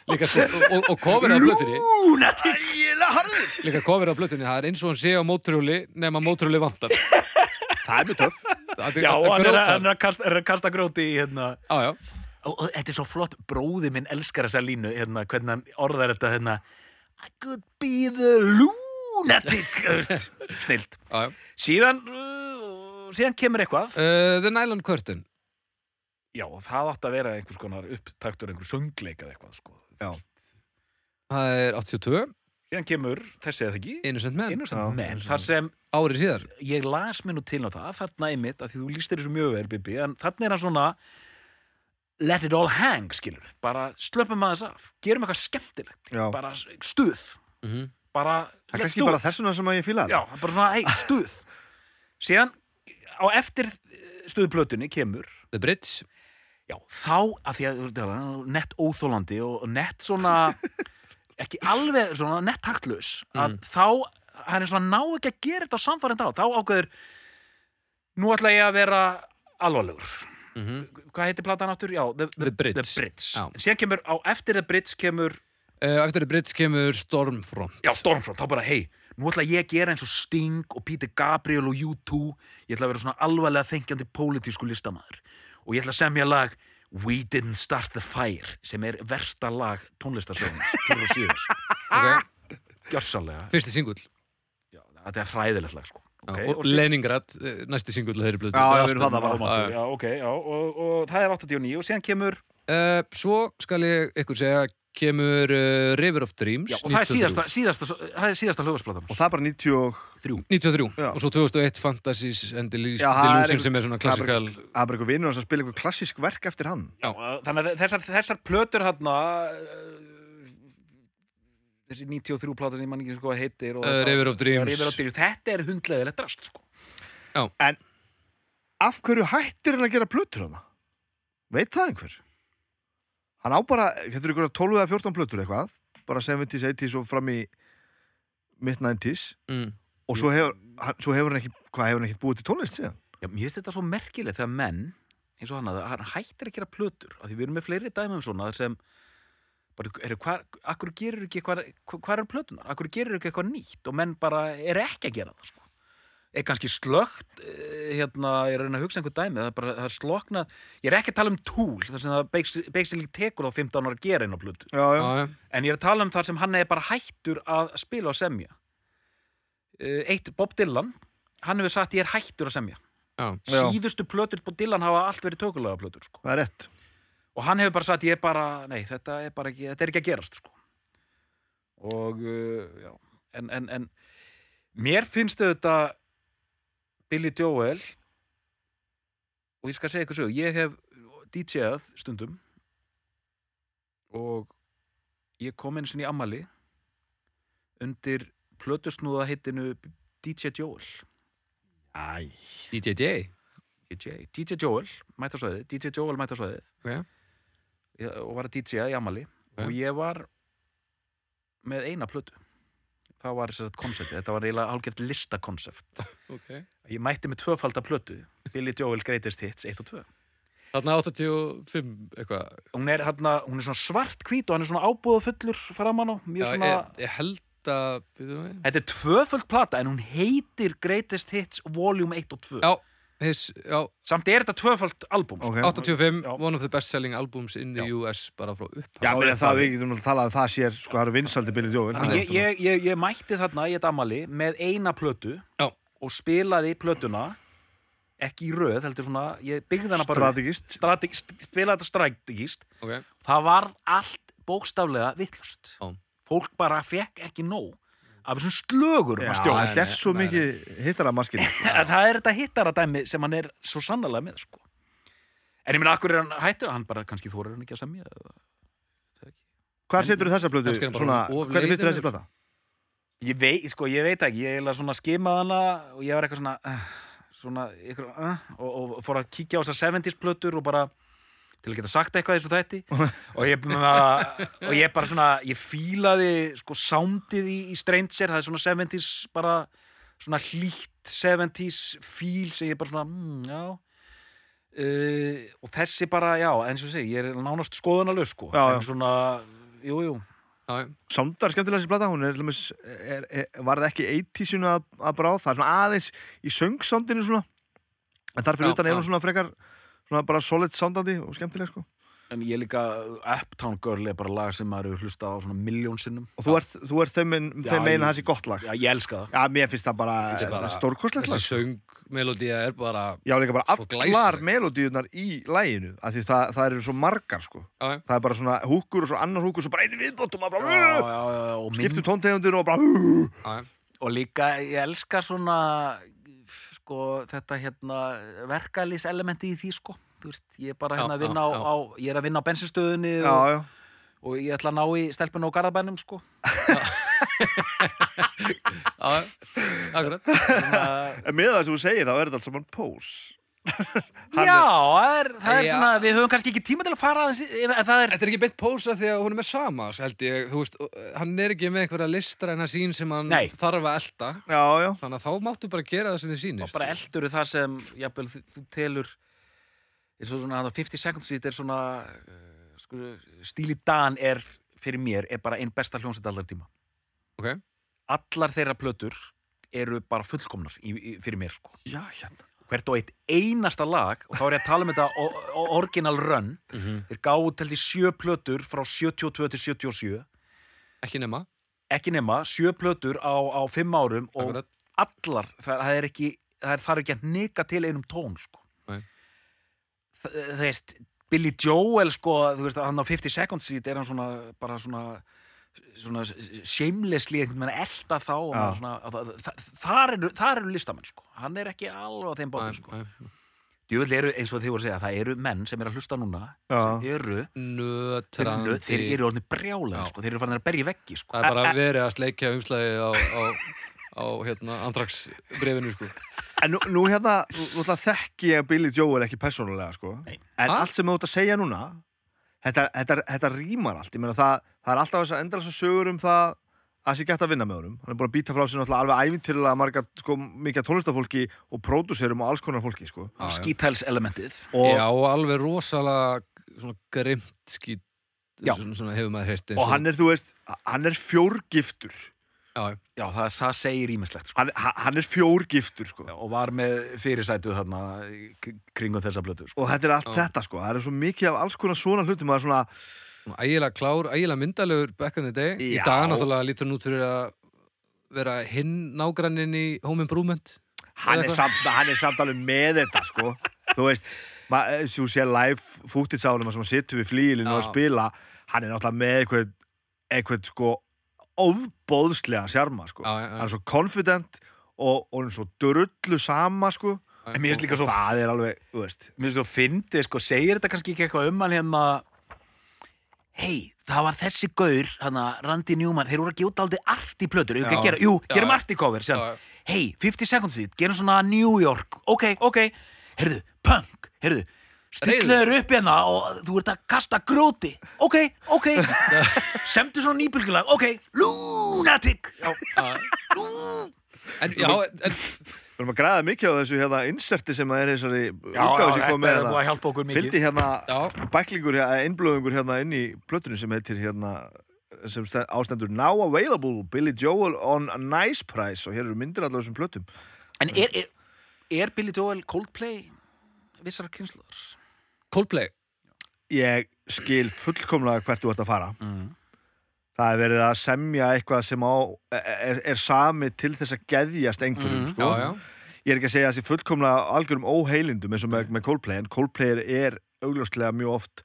Speaker 1: líka, svo- og, og kofir á blötunni,
Speaker 2: Lunatic
Speaker 3: Ægilega harður
Speaker 1: líka kofir á blötunni, það er eins og hann sé á mótrúli, nema mótrúli vantar.
Speaker 3: Það er mjög töff
Speaker 1: Það
Speaker 2: Já, og hann er, að-
Speaker 1: grótar.
Speaker 2: hann er, að kasta, er að kasta gróti í hérna
Speaker 1: Já, já,
Speaker 2: og, og þetta er svo flott, bróði minn elskar þessa línu hérna, hvernig hann orðar þetta hérna I could be the lunatic þú veist, snilt
Speaker 1: já, já.
Speaker 2: síðan, uh, síðan kemur eitthvað
Speaker 1: Uh, The Nylon Curtain,
Speaker 2: já, það átti að vera einhvers konar upptaktur einhver söngleika eða eitthvað sko.
Speaker 3: Já.
Speaker 1: það er 82,
Speaker 2: síðan kemur, þessi eða ekki
Speaker 1: Innocent Man,
Speaker 3: Já,
Speaker 2: Innocent Men,
Speaker 3: Innocent
Speaker 2: þar sem
Speaker 1: árið síðar.
Speaker 2: ég las mér nú til á það þarna einmitt, að því þú líst þér þessu mjög vel Bibi, en þarna er hann svona let it all hang, skilur bara slöpum aðeins af, gerum eitthvað skemmtilegt
Speaker 3: Já.
Speaker 2: bara stuð
Speaker 1: Mhm.
Speaker 2: bara
Speaker 3: Það er
Speaker 2: let's
Speaker 3: kannski
Speaker 2: do
Speaker 3: bara
Speaker 2: it.
Speaker 3: þessuna sem að ég fíla
Speaker 2: Já, bara svona, hei, stuð Síðan á eftir eh, stuðplötunni kemur
Speaker 1: The Bridge
Speaker 2: Já, þá, af því að þú veist, það er nett óþólandi og og nett svona ekki alveg svona nett taktlaus
Speaker 1: Mm.
Speaker 2: að þá, hann er svona ná ekki að gera þetta samfærind á, þá ákveður nú ætla ég að vera alvarlegur Hvað heitir platan áttur? Já, The,
Speaker 1: Mhm. The Bridge.
Speaker 2: the Bridge.
Speaker 1: Já.
Speaker 2: En síðan kemur, á eftir The Bridge kemur
Speaker 1: uh, Eftir The Bridge kemur Stormfront
Speaker 2: Já, Stormfront, þá bara, hei, nú ætla ég að gera eins og Sting og Peter Gabriel og U2 ég ætla að vera svona alvarlega þengjandi pólitísku listamaður og ég ætla að semja lag We Didn't Start the Fire sem er versta lag tónlistarsögun fyrir og síður,
Speaker 3: Ah!
Speaker 1: okay.
Speaker 2: gjörsalega
Speaker 1: Fyrsti singull
Speaker 2: Já, þetta er hræðilegt lag, sko
Speaker 1: okay,
Speaker 2: okay,
Speaker 1: og, Leningrad, uh, næsti singull þeirri blötu
Speaker 3: Já, við erum þarna bara.
Speaker 2: Ámáttur, já, ok, já, og, og það er 89 og síðan kemur,
Speaker 1: uh, Svo skal ég ykkur segja kemur uh, River of Dreams
Speaker 2: já, og það er
Speaker 1: 1903.
Speaker 2: síðasta, síðasta, það er síðasta hlugvarsplatan
Speaker 3: Og það er bara 90 og
Speaker 2: Þrjú
Speaker 1: 93
Speaker 3: Já.
Speaker 1: og svo 2001 Fantasies and Delus-
Speaker 3: Já, það er
Speaker 1: Delusion
Speaker 3: einhver-
Speaker 1: sem er svona
Speaker 3: það er bara-
Speaker 1: klassikal
Speaker 3: Það er bara eitthvað vinnur hans að spila eitthvað klassísk verk eftir hann
Speaker 2: Já, þannig að þessar, þessar plötur hann þessi 93 plata sem ég man ekki sko að heitir og
Speaker 1: Uh,
Speaker 2: þetta-
Speaker 1: River of Dreams.
Speaker 2: Já, River of Dreams, þetta er hundleðilegt rast sko.
Speaker 3: Af hverju hættir hann að gera plötur hann? Veit það einhver? Hann á bara, getur ykkur 12 eða 14 plötur eitthvað bara 70s, 80s og fram í mitt 90s
Speaker 1: mm.
Speaker 3: og svo hefur, hann, svo hefur hann ekki hvað hefur hann ekki búið til tónlist síðan?
Speaker 2: Já, mér finnst þetta svo merkilegt þegar menn eins og hann að hann hættir að gera plötur af því við erum með fleiri dæmum svona sem bara, eru hvar, akkur gerir ekki eitthvað hvað eru plötunar, akkur gerir ekki eitthvað nýtt og menn bara er ekki að gera það sko. er kannski slögt eh, hérna, ég er að reyna að hugsa einhver dæmi það er bara, það er slokna, ég er ekki að tala um túl þar sem það basic- basically tekur á 15 ára að gera einu plötu
Speaker 3: Já, já,
Speaker 1: Já, já.
Speaker 2: En ég er að tala um þar sem hann er bara hættur að spila og semja. Eh, Eitt, Bob Dylan, hann hefur sagt ég er hættur að semja.
Speaker 1: Já.
Speaker 3: Já.
Speaker 2: Síðustu plötur Bob Dylan hafa allt verið tökulega plötur, sko.
Speaker 3: það er rétt
Speaker 2: Og hann hefur bara sagt ég er bara, nei, þetta er bara ekki, þetta er ekki að gerast, sko. Og, uh, já, en, en, en, mér finnst þetta Billy Joel og ég skal segja ykkur svo, ég hef DJ-að stundum og ég kom eins og í ammali undir plötusnúða heitinu DJ Joel
Speaker 3: Æ,
Speaker 1: DJJ
Speaker 2: DJ, DJ Joel mætasvæðið, DJ Joel mætasvæðið
Speaker 1: Ok.
Speaker 2: ég, og var að DJ-a í ammali
Speaker 1: Ok.
Speaker 2: og ég var með eina plötu það var þess að konceptið, þetta var eiginlega hálfgert listakoncept
Speaker 1: okay.
Speaker 2: ég mætti með tvöfalda plötu Billy Joel Greatest Hits 1 og 2
Speaker 1: Þarna 85 eitthvað
Speaker 2: hún er, hana, hún er svona svart hvít og hann er svona ábúða fullur framan á mjög
Speaker 1: Já,
Speaker 2: svona,
Speaker 1: ég, ég held að byrðu mig
Speaker 2: þetta er tvöföld plata en hún heitir Greatest Hits Volume 1 og 2
Speaker 1: Já, his, já
Speaker 2: samt er þetta tvöföld album sko.
Speaker 3: ok
Speaker 1: 85,
Speaker 2: Já.
Speaker 1: one of the best selling albums in the
Speaker 2: Já.
Speaker 1: US bara frá upp
Speaker 3: Já, meina það við getum að tala að það sér sko, það eru vinsaldi Billy Joel
Speaker 2: Þannig ég, ég, ég, ég mætti þarna í þetta amali með eina plötu
Speaker 1: Já.
Speaker 2: og spilaði plötuna ekki í röð, heldur svona ég byggði hana bara
Speaker 3: Strategist
Speaker 2: Strati st- spilaði þetta strategist
Speaker 1: okay.
Speaker 2: það var allt bókstaflega vittlust
Speaker 1: Já.
Speaker 2: fólk bara fekk ekki nóg af þessum slögur
Speaker 3: Já,
Speaker 1: Nei,
Speaker 3: þetta er
Speaker 1: nei,
Speaker 3: svo
Speaker 1: nei,
Speaker 3: mikið hittara maskinn
Speaker 2: en það er þetta hittaradæmi sem hann er svo sannlega með sko. en ég meina, akkur er hann hættur hann bara kannski þórar hann ekki að semja eða- það er ekki.
Speaker 3: Hvar setur þessa blötu?
Speaker 1: Kannski er hann bara
Speaker 3: Svona,
Speaker 1: of
Speaker 3: hvernig finnst þér
Speaker 1: leiðinlegur.
Speaker 3: þessi blöta?
Speaker 2: ég veit, sko, ég veit ekki, ég eiginlega svona skimaði hana og ég var eitthvað svona uh, svona, ykkur, uh, og, og fór að kíkja á þessar 70s plötur og bara til að geta sagt eitthvað eins og þætti og ég, bara- og ég bara svona ég fílaði, sko, soundið í, í Stranger, það er svona 70s bara svona hlýtt 70s fíl sem ég bara svona mm, já uh, og þessi bara, já, eins og segi, ég er nánast skoðunarlaus, sko,
Speaker 3: Já, já.
Speaker 2: en svona jú, jú,
Speaker 1: Já, já.
Speaker 3: Samdar skemmtilega þessi blöta, hún er, til dæmis, er, er, var það ekki 80-suna að, að bráð það er svona aðeins í söngsamdinu svona en þar fyrir
Speaker 1: Já,
Speaker 3: utan
Speaker 1: já.
Speaker 3: er hún svona frekar svona bara solid soundandi og skemmtileg sko
Speaker 2: En ég líka, uh, Uptown Girl er bara lag sem maður hefur hlustað á svona miljón sinnum.
Speaker 3: og þú ert, þú ert þeim, mein,
Speaker 2: Já,
Speaker 3: þeim meina
Speaker 2: ég-
Speaker 3: þessi gott lag
Speaker 2: Já, ég elska það.
Speaker 3: Já, mér finnst það bara,
Speaker 2: finnst bara-
Speaker 3: bara stórkostlegt
Speaker 1: Þessi
Speaker 3: lag
Speaker 1: söngmelodía er bara
Speaker 3: Já, líka bara
Speaker 1: Svo
Speaker 3: allar
Speaker 1: glæsileg.
Speaker 3: melodíunar í læginu af því það, það eru svo margar sko
Speaker 1: Já, já.
Speaker 3: það er bara svona húkur og svo annar húkur svo bara einu viðbótum og
Speaker 2: Já, já,
Speaker 3: bara
Speaker 2: já, já, og,
Speaker 3: skiptu
Speaker 2: mynd,
Speaker 3: tóntegundir og bara uh,
Speaker 1: já, já.
Speaker 2: og líka, ég elska svona, sko, þetta hérna, verkalýselementi í því, sko. Þú veist, ég er bara
Speaker 1: Já,
Speaker 2: hérna að vinna á,
Speaker 1: já, já.
Speaker 2: á, ég er að vinna á bensinstöðunni
Speaker 3: Já,
Speaker 2: og,
Speaker 3: já,
Speaker 2: og ég ætla að ná í stelpun á garðabænum, sko.
Speaker 1: Já, akkurat
Speaker 2: Svona-
Speaker 3: En með það sem þú segir þá er þetta allt saman pós Hann
Speaker 2: Já, það er, það er
Speaker 1: Já.
Speaker 2: svona, við höfum kannski ekki tíma til að fara aðeins í- en það er,
Speaker 1: Þetta er ekki beint pósa því að hún er með sama held ég, þú veist, uh, hann er ekki með einhverja listræna sín sem hann
Speaker 2: Nei.
Speaker 1: þarf að elta
Speaker 3: Já, já
Speaker 1: þannig að þá máttu bara gera það sem þið
Speaker 2: og
Speaker 1: sýnist
Speaker 2: bara elduru það sem, jafnvel, þú- þú telur eins og svona, þarna 50 seconds it er svona uh, skur, stíli Dan er, fyrir mér, er bara einn besta hljónsett allar tíma
Speaker 1: Ok.
Speaker 2: Allar þeirra plötur eru bara fullkomnar í, í, fyrir mér, sko
Speaker 3: Já, hérna
Speaker 2: hvert og eitt einasta lag og þá er ég að tala um þetta o- o- original run þeir gáðu til því sjö plötur frá 72 til 77
Speaker 1: ekki nema,
Speaker 2: ekki nema, sjö plötur á, á fimm árum og
Speaker 1: akkurat
Speaker 2: allar, það, það er ekki það er, það er ekki að nika til einum tón sko.
Speaker 1: Nei.
Speaker 2: Þa- það veist Billy Joel sko, þú veist, hann á 50 seconds seat er hann svona, bara svona svona shamelessly einhvern veginn að elta þá og
Speaker 3: Já.
Speaker 2: maður svona, að, að, það, þar, eru, þar eru listamenn sko. hann er ekki alveg á þeim
Speaker 1: Æ,
Speaker 2: bátum sko.
Speaker 1: æ.
Speaker 2: Djúvel eru, eins og þið voru að segja, það eru menn sem eru að hlusta núna
Speaker 3: Já.
Speaker 2: sem eru, þeir,
Speaker 1: nötrandi
Speaker 2: eru- þeir eru orðin brjálega,
Speaker 1: Já.
Speaker 2: sko, þeir eru farin að berja í veggi sko.
Speaker 1: það er bara verið að sleikja umslagið á, á, á hérna, andraks brefinu sko.
Speaker 3: En nú, nú hérna, nú nú ætla þekki ég Billy Joel ekki persónulega, sko
Speaker 2: Nei.
Speaker 3: En
Speaker 1: Ha?
Speaker 3: allt sem þú ert að segja núna Þetta, þetta, þetta rýmar allt Ég meina það, það er alltaf þess að endra svo sögur um það að það sé gætt að vinna með honum Hann er búin að býta frá sér náttúrulega alveg ævintýrlega marga, sko, mikið af tónlistafólki og pródúserum og alls konar fólki, sko
Speaker 1: Já, já.
Speaker 2: skítælselementið
Speaker 3: Og
Speaker 1: já, og alveg rosalega svona grimt skýt
Speaker 2: Já.
Speaker 1: svona, svona hefur maður heyrt eins
Speaker 3: og hann er, þú veist, hann er fjórgiftur
Speaker 1: já, já.
Speaker 2: Já, það, það segir ímislegt sko.
Speaker 3: hann, ha- hann er fjórgiftur sko.
Speaker 2: Já, og var með fyrirsætu þarna í kr- kringum þessa blötu sko.
Speaker 3: og þetta er allt
Speaker 1: Já.
Speaker 3: þetta sko. það er svo mikið af alls konar svona hlutum maður svona,
Speaker 1: Svona ægilega klár, ægilega myndalegur back in the day, í
Speaker 3: Já.
Speaker 1: dag náttúrulega lítur hann út fyrir að vera hinn nágranninn í Home Improvement
Speaker 3: hann,
Speaker 1: Eða
Speaker 3: er
Speaker 1: hvað?
Speaker 3: samt, hann er samt alveg með þetta sko. þú veist ma- eins og þú sé live footage á honum sem hann situr við flílinu
Speaker 1: Já.
Speaker 3: og spila hann er náttúrulega með eitthvað, eitthvað sko, ofbóðslega sjarma sko.
Speaker 1: Já, já, já.
Speaker 3: hann er svo confident og, og hann er svo drullu sama sko.
Speaker 2: en mér finnst líka svo,
Speaker 3: það er alveg, þú veist
Speaker 2: mér finnst svo fyndið sko, segir þetta kannski ekki eitthvað um hann hérna hei, það var þessi gaur hana, Randy Newman, þeir voru að gjóta aldrei art í plötur,
Speaker 1: Já.
Speaker 2: ekki gera, jú,
Speaker 1: Já,
Speaker 2: gerum
Speaker 1: já.
Speaker 2: art í cover
Speaker 1: Já, já.
Speaker 2: hei, 50 seconds þitt, gerum svona New York ok, ok, heyrðu, punk heyrðu,
Speaker 1: Reiður.
Speaker 2: stillur upp hérna og þú ert að kasta gróti ok, ok semdu svona nýbylgulag, ok, lunatic já, lú
Speaker 1: en, já, en,
Speaker 3: Við erum að græða mikið á þessu hérna inserti sem að er þessari útgáfi sem kom
Speaker 2: þetta
Speaker 3: með
Speaker 2: er
Speaker 3: hérna.
Speaker 2: búið að hjálpa okkur mikið.
Speaker 3: Fylgdi hérna
Speaker 1: Já.
Speaker 3: bæklingur, hérna, innblöðungur hérna inn í plötunum sem heitir hérna sem stend- ástendur Now Available Billy Joel on a Nice Price og hér eru myndir allavega þessum plötum.
Speaker 2: En er, er, er Billy Joel Coldplay vissara kynsluðar?
Speaker 1: Coldplay
Speaker 3: Ég skil fullkomlega hvert þú ert að fara.
Speaker 1: Mm.
Speaker 3: Það er verið að semja eitthvað sem á, er, er sami til þess að geðjast einhverjum, sko.
Speaker 1: Mm, já, já.
Speaker 3: Ég er ekki að segja að þessi fullkomlega algjörum óheilindum eins og með, með Coldplay, en Coldplay er augljóslega mjög oft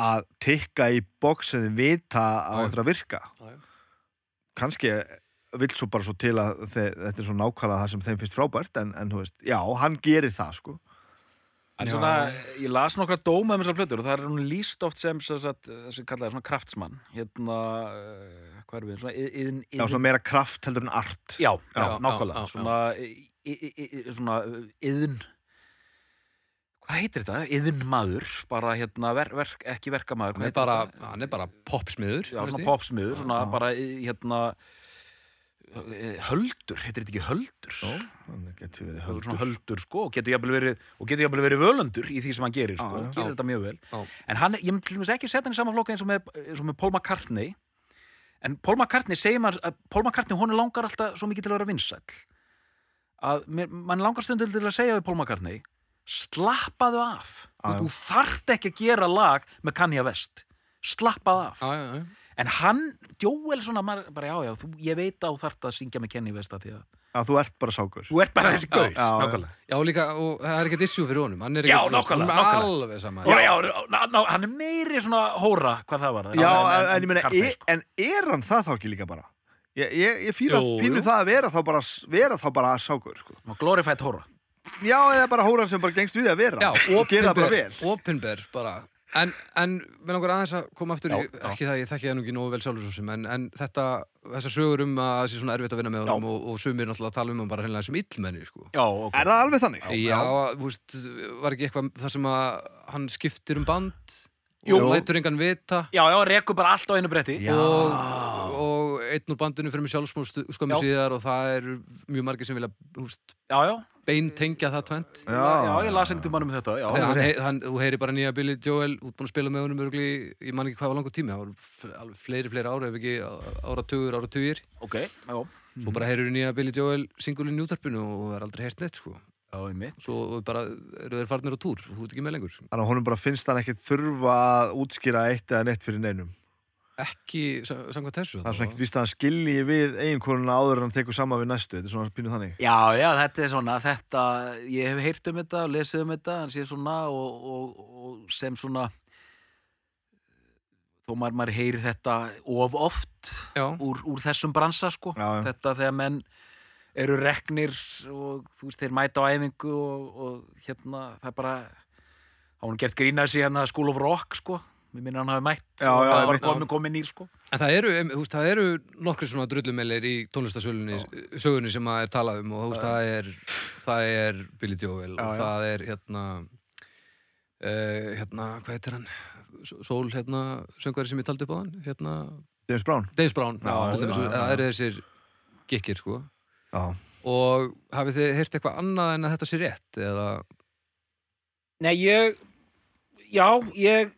Speaker 3: að tikka í boks sem þið vita
Speaker 1: Já,
Speaker 3: að
Speaker 1: já.
Speaker 3: þetta virka.
Speaker 1: Já, já.
Speaker 3: Kannski vill svo bara svo til að þe þetta er svo nákvæmlega það sem þeim finnst frábært, en, en þú veist, já, hann gerir það, sko.
Speaker 2: En
Speaker 1: Já.
Speaker 2: svona, ég las nokkra dóma um þessar plötur og það er hún líst oft sem sem sagt, þessi kallaði svona kraftsmann hérna, eh, hvað er við, svona iðn, iðn,
Speaker 3: Já, svona meira kraft heldur en art.
Speaker 2: já, já,
Speaker 1: já, já,
Speaker 2: nákvæmlega
Speaker 1: já.
Speaker 2: svona, í- í- í- í- svona yðn hvað heitir þetta? Yðnmaður bara hérna, ver, verk, ekki verkamaður hvað
Speaker 1: hann er
Speaker 2: heitir
Speaker 1: bara,
Speaker 2: þetta?
Speaker 1: hann er bara popsmiður
Speaker 2: já, svona
Speaker 1: veist ég.
Speaker 2: popsmiður, svona
Speaker 3: Já.
Speaker 2: bara í- hérna eh, höldur, heitir þetta ekki höldur? Já,
Speaker 3: Þannig getur verið
Speaker 2: höldur.
Speaker 3: höldur.
Speaker 2: svona höldur sko og getur jafnvel verið, og getur jafnvel verið völundur í því sem hann gerir sko,
Speaker 3: Já, já.
Speaker 2: gerir þetta mjög vel
Speaker 1: Já.
Speaker 2: en hann, ég myndi til dæmis ekki setja hann í sama flokka eins og með, eins og með Paul McCartney en Paul McCartney segir maður að Paul McCartney honum langar alltaf svo mikið til að vera vinsæll að mér, mann langar stundum til að segja við Paul McCartney slappaðu af
Speaker 3: Já, já.
Speaker 2: þú þarft ekki að gera lag með Kanye West slappaðu af
Speaker 1: já, já, já.
Speaker 2: en hann, Joel svona maður, bara já já, þú, ég veit að þú þarft að syngja með Kanye West að því að
Speaker 3: Já, þú ert bara sákur.
Speaker 2: þú ert bara þessi gaur,
Speaker 3: já, já.
Speaker 2: nákvæmlega
Speaker 1: já, og líka, og það er ekkert issue fyrir honum hann er
Speaker 2: Já,
Speaker 1: ekkert,
Speaker 2: nákvæmlega,
Speaker 1: hann er
Speaker 2: nákvæmlega.
Speaker 1: alveg sama
Speaker 2: Já, já, ná, ná, hann er meiri svona hóra hvað það var
Speaker 3: Já, en, en ég meina,
Speaker 2: Karlmaður,
Speaker 3: er,
Speaker 2: sko.
Speaker 3: en er hann það þá ekki líka bara? Ég, ég, ég fýla
Speaker 1: Jú,
Speaker 3: pínu
Speaker 1: jú.
Speaker 3: það að vera þá bara, vera þá bara sákur, sko.
Speaker 2: Svona glorified hóra
Speaker 3: Já, eða bara hóran sem bara gengst við að vera
Speaker 1: já
Speaker 3: og gera það bara
Speaker 1: opinber,
Speaker 3: vel
Speaker 1: opinber bara En, en með langar aðeins að koma aftur í,
Speaker 2: Já, já.
Speaker 1: ekki það, ég þekki það nú ekki nógu vel sjálfur svo sem, en, en þetta, þessar sögur um að það sé svona erfitt að vinna með honum og, og sumir náttúrulega tala um hann bara hreinlega sem illmenni, sko.
Speaker 2: Já, ok.
Speaker 3: Er það alveg þannig?
Speaker 1: Já, þú veist, var ekki eitthvað þar sem að hann skiptir um band
Speaker 2: Jú.
Speaker 1: og lætur engan vita
Speaker 2: Já, já, rekur bara allt á einu bretti.
Speaker 3: Já.
Speaker 1: og, og einn úr bandinu fyrir mig sjálfsmóð skömmu
Speaker 2: Já.
Speaker 1: síðar og það eru mjög margir sem vilja þú veist,
Speaker 2: Já, já.
Speaker 1: beintengja það tvent
Speaker 3: Já.
Speaker 2: ég las ekkert um hann um þetta, já.
Speaker 1: Þegar hann, hann, þú heyri bara nýja Billy Joel útbúin að spila með honum örgli, ég man ekki hvað var langur tími það var f- alveg fleiri, fleiri ára ef ekki áratugur, áratugir
Speaker 2: Ok, já,
Speaker 3: Mhm.
Speaker 1: svo bara heyrir nýja Billy Joel singulinn í útarpinu og það er aldrei heyrt neitt sko
Speaker 2: já, ég mitt.
Speaker 1: svo bara eru þeir farnir á túr og þú ert ekki með lengur
Speaker 3: Þannig að honum bara finnst hann ekki þurfa að útskýra eitt eða neitt fyrir neinum.
Speaker 1: ekki sam- samkvæmt þessu
Speaker 3: Það er svona ekkert víst að hann skilji við einhvern áður en hann tekur sama við næstu. Þetta er svona pínu þannig.
Speaker 2: Já, já, þetta er svona, þetta, ég hef heyrt um þetta, lesið um þetta, hann sé svona og, og, og sem svona, þó maður, maður heyri þetta of oft
Speaker 1: já,
Speaker 2: úr, úr þessum bransa, sko.
Speaker 3: Já, já.
Speaker 2: Þetta þegar menn eru reknir og þú veist, þeir mæta á æfingu og, og hérna, það er bara, þá hann gert grínað sér hérna School of Rock, sko. Mér minna hann hafi mætt,
Speaker 3: Já,
Speaker 2: og
Speaker 3: já,
Speaker 2: það
Speaker 3: ég
Speaker 2: var
Speaker 3: mitt.
Speaker 2: komin, komin nýr, sko.
Speaker 1: en það eru, em, þú veist, það eru nokkri svona drullumelir í tónlistasölunni sögunni sem maður er talað um og þú veist, það er, það er Billy Joel og
Speaker 2: Já, já.
Speaker 1: það er hérna uh, hérna, hvað heitir hann Sól, hérna, söngvari sem ég taldi upp á hann hérna,
Speaker 3: James Brown.
Speaker 1: Dave Brown
Speaker 3: Já,
Speaker 1: já,
Speaker 3: já,
Speaker 1: dæmis,
Speaker 3: já, já.
Speaker 1: það eru þessir gikkir, sko
Speaker 3: Já.
Speaker 1: og hafið þið heyrt eitthvað annað en að þetta sé rétt eða,
Speaker 2: Nei, ég Já, ég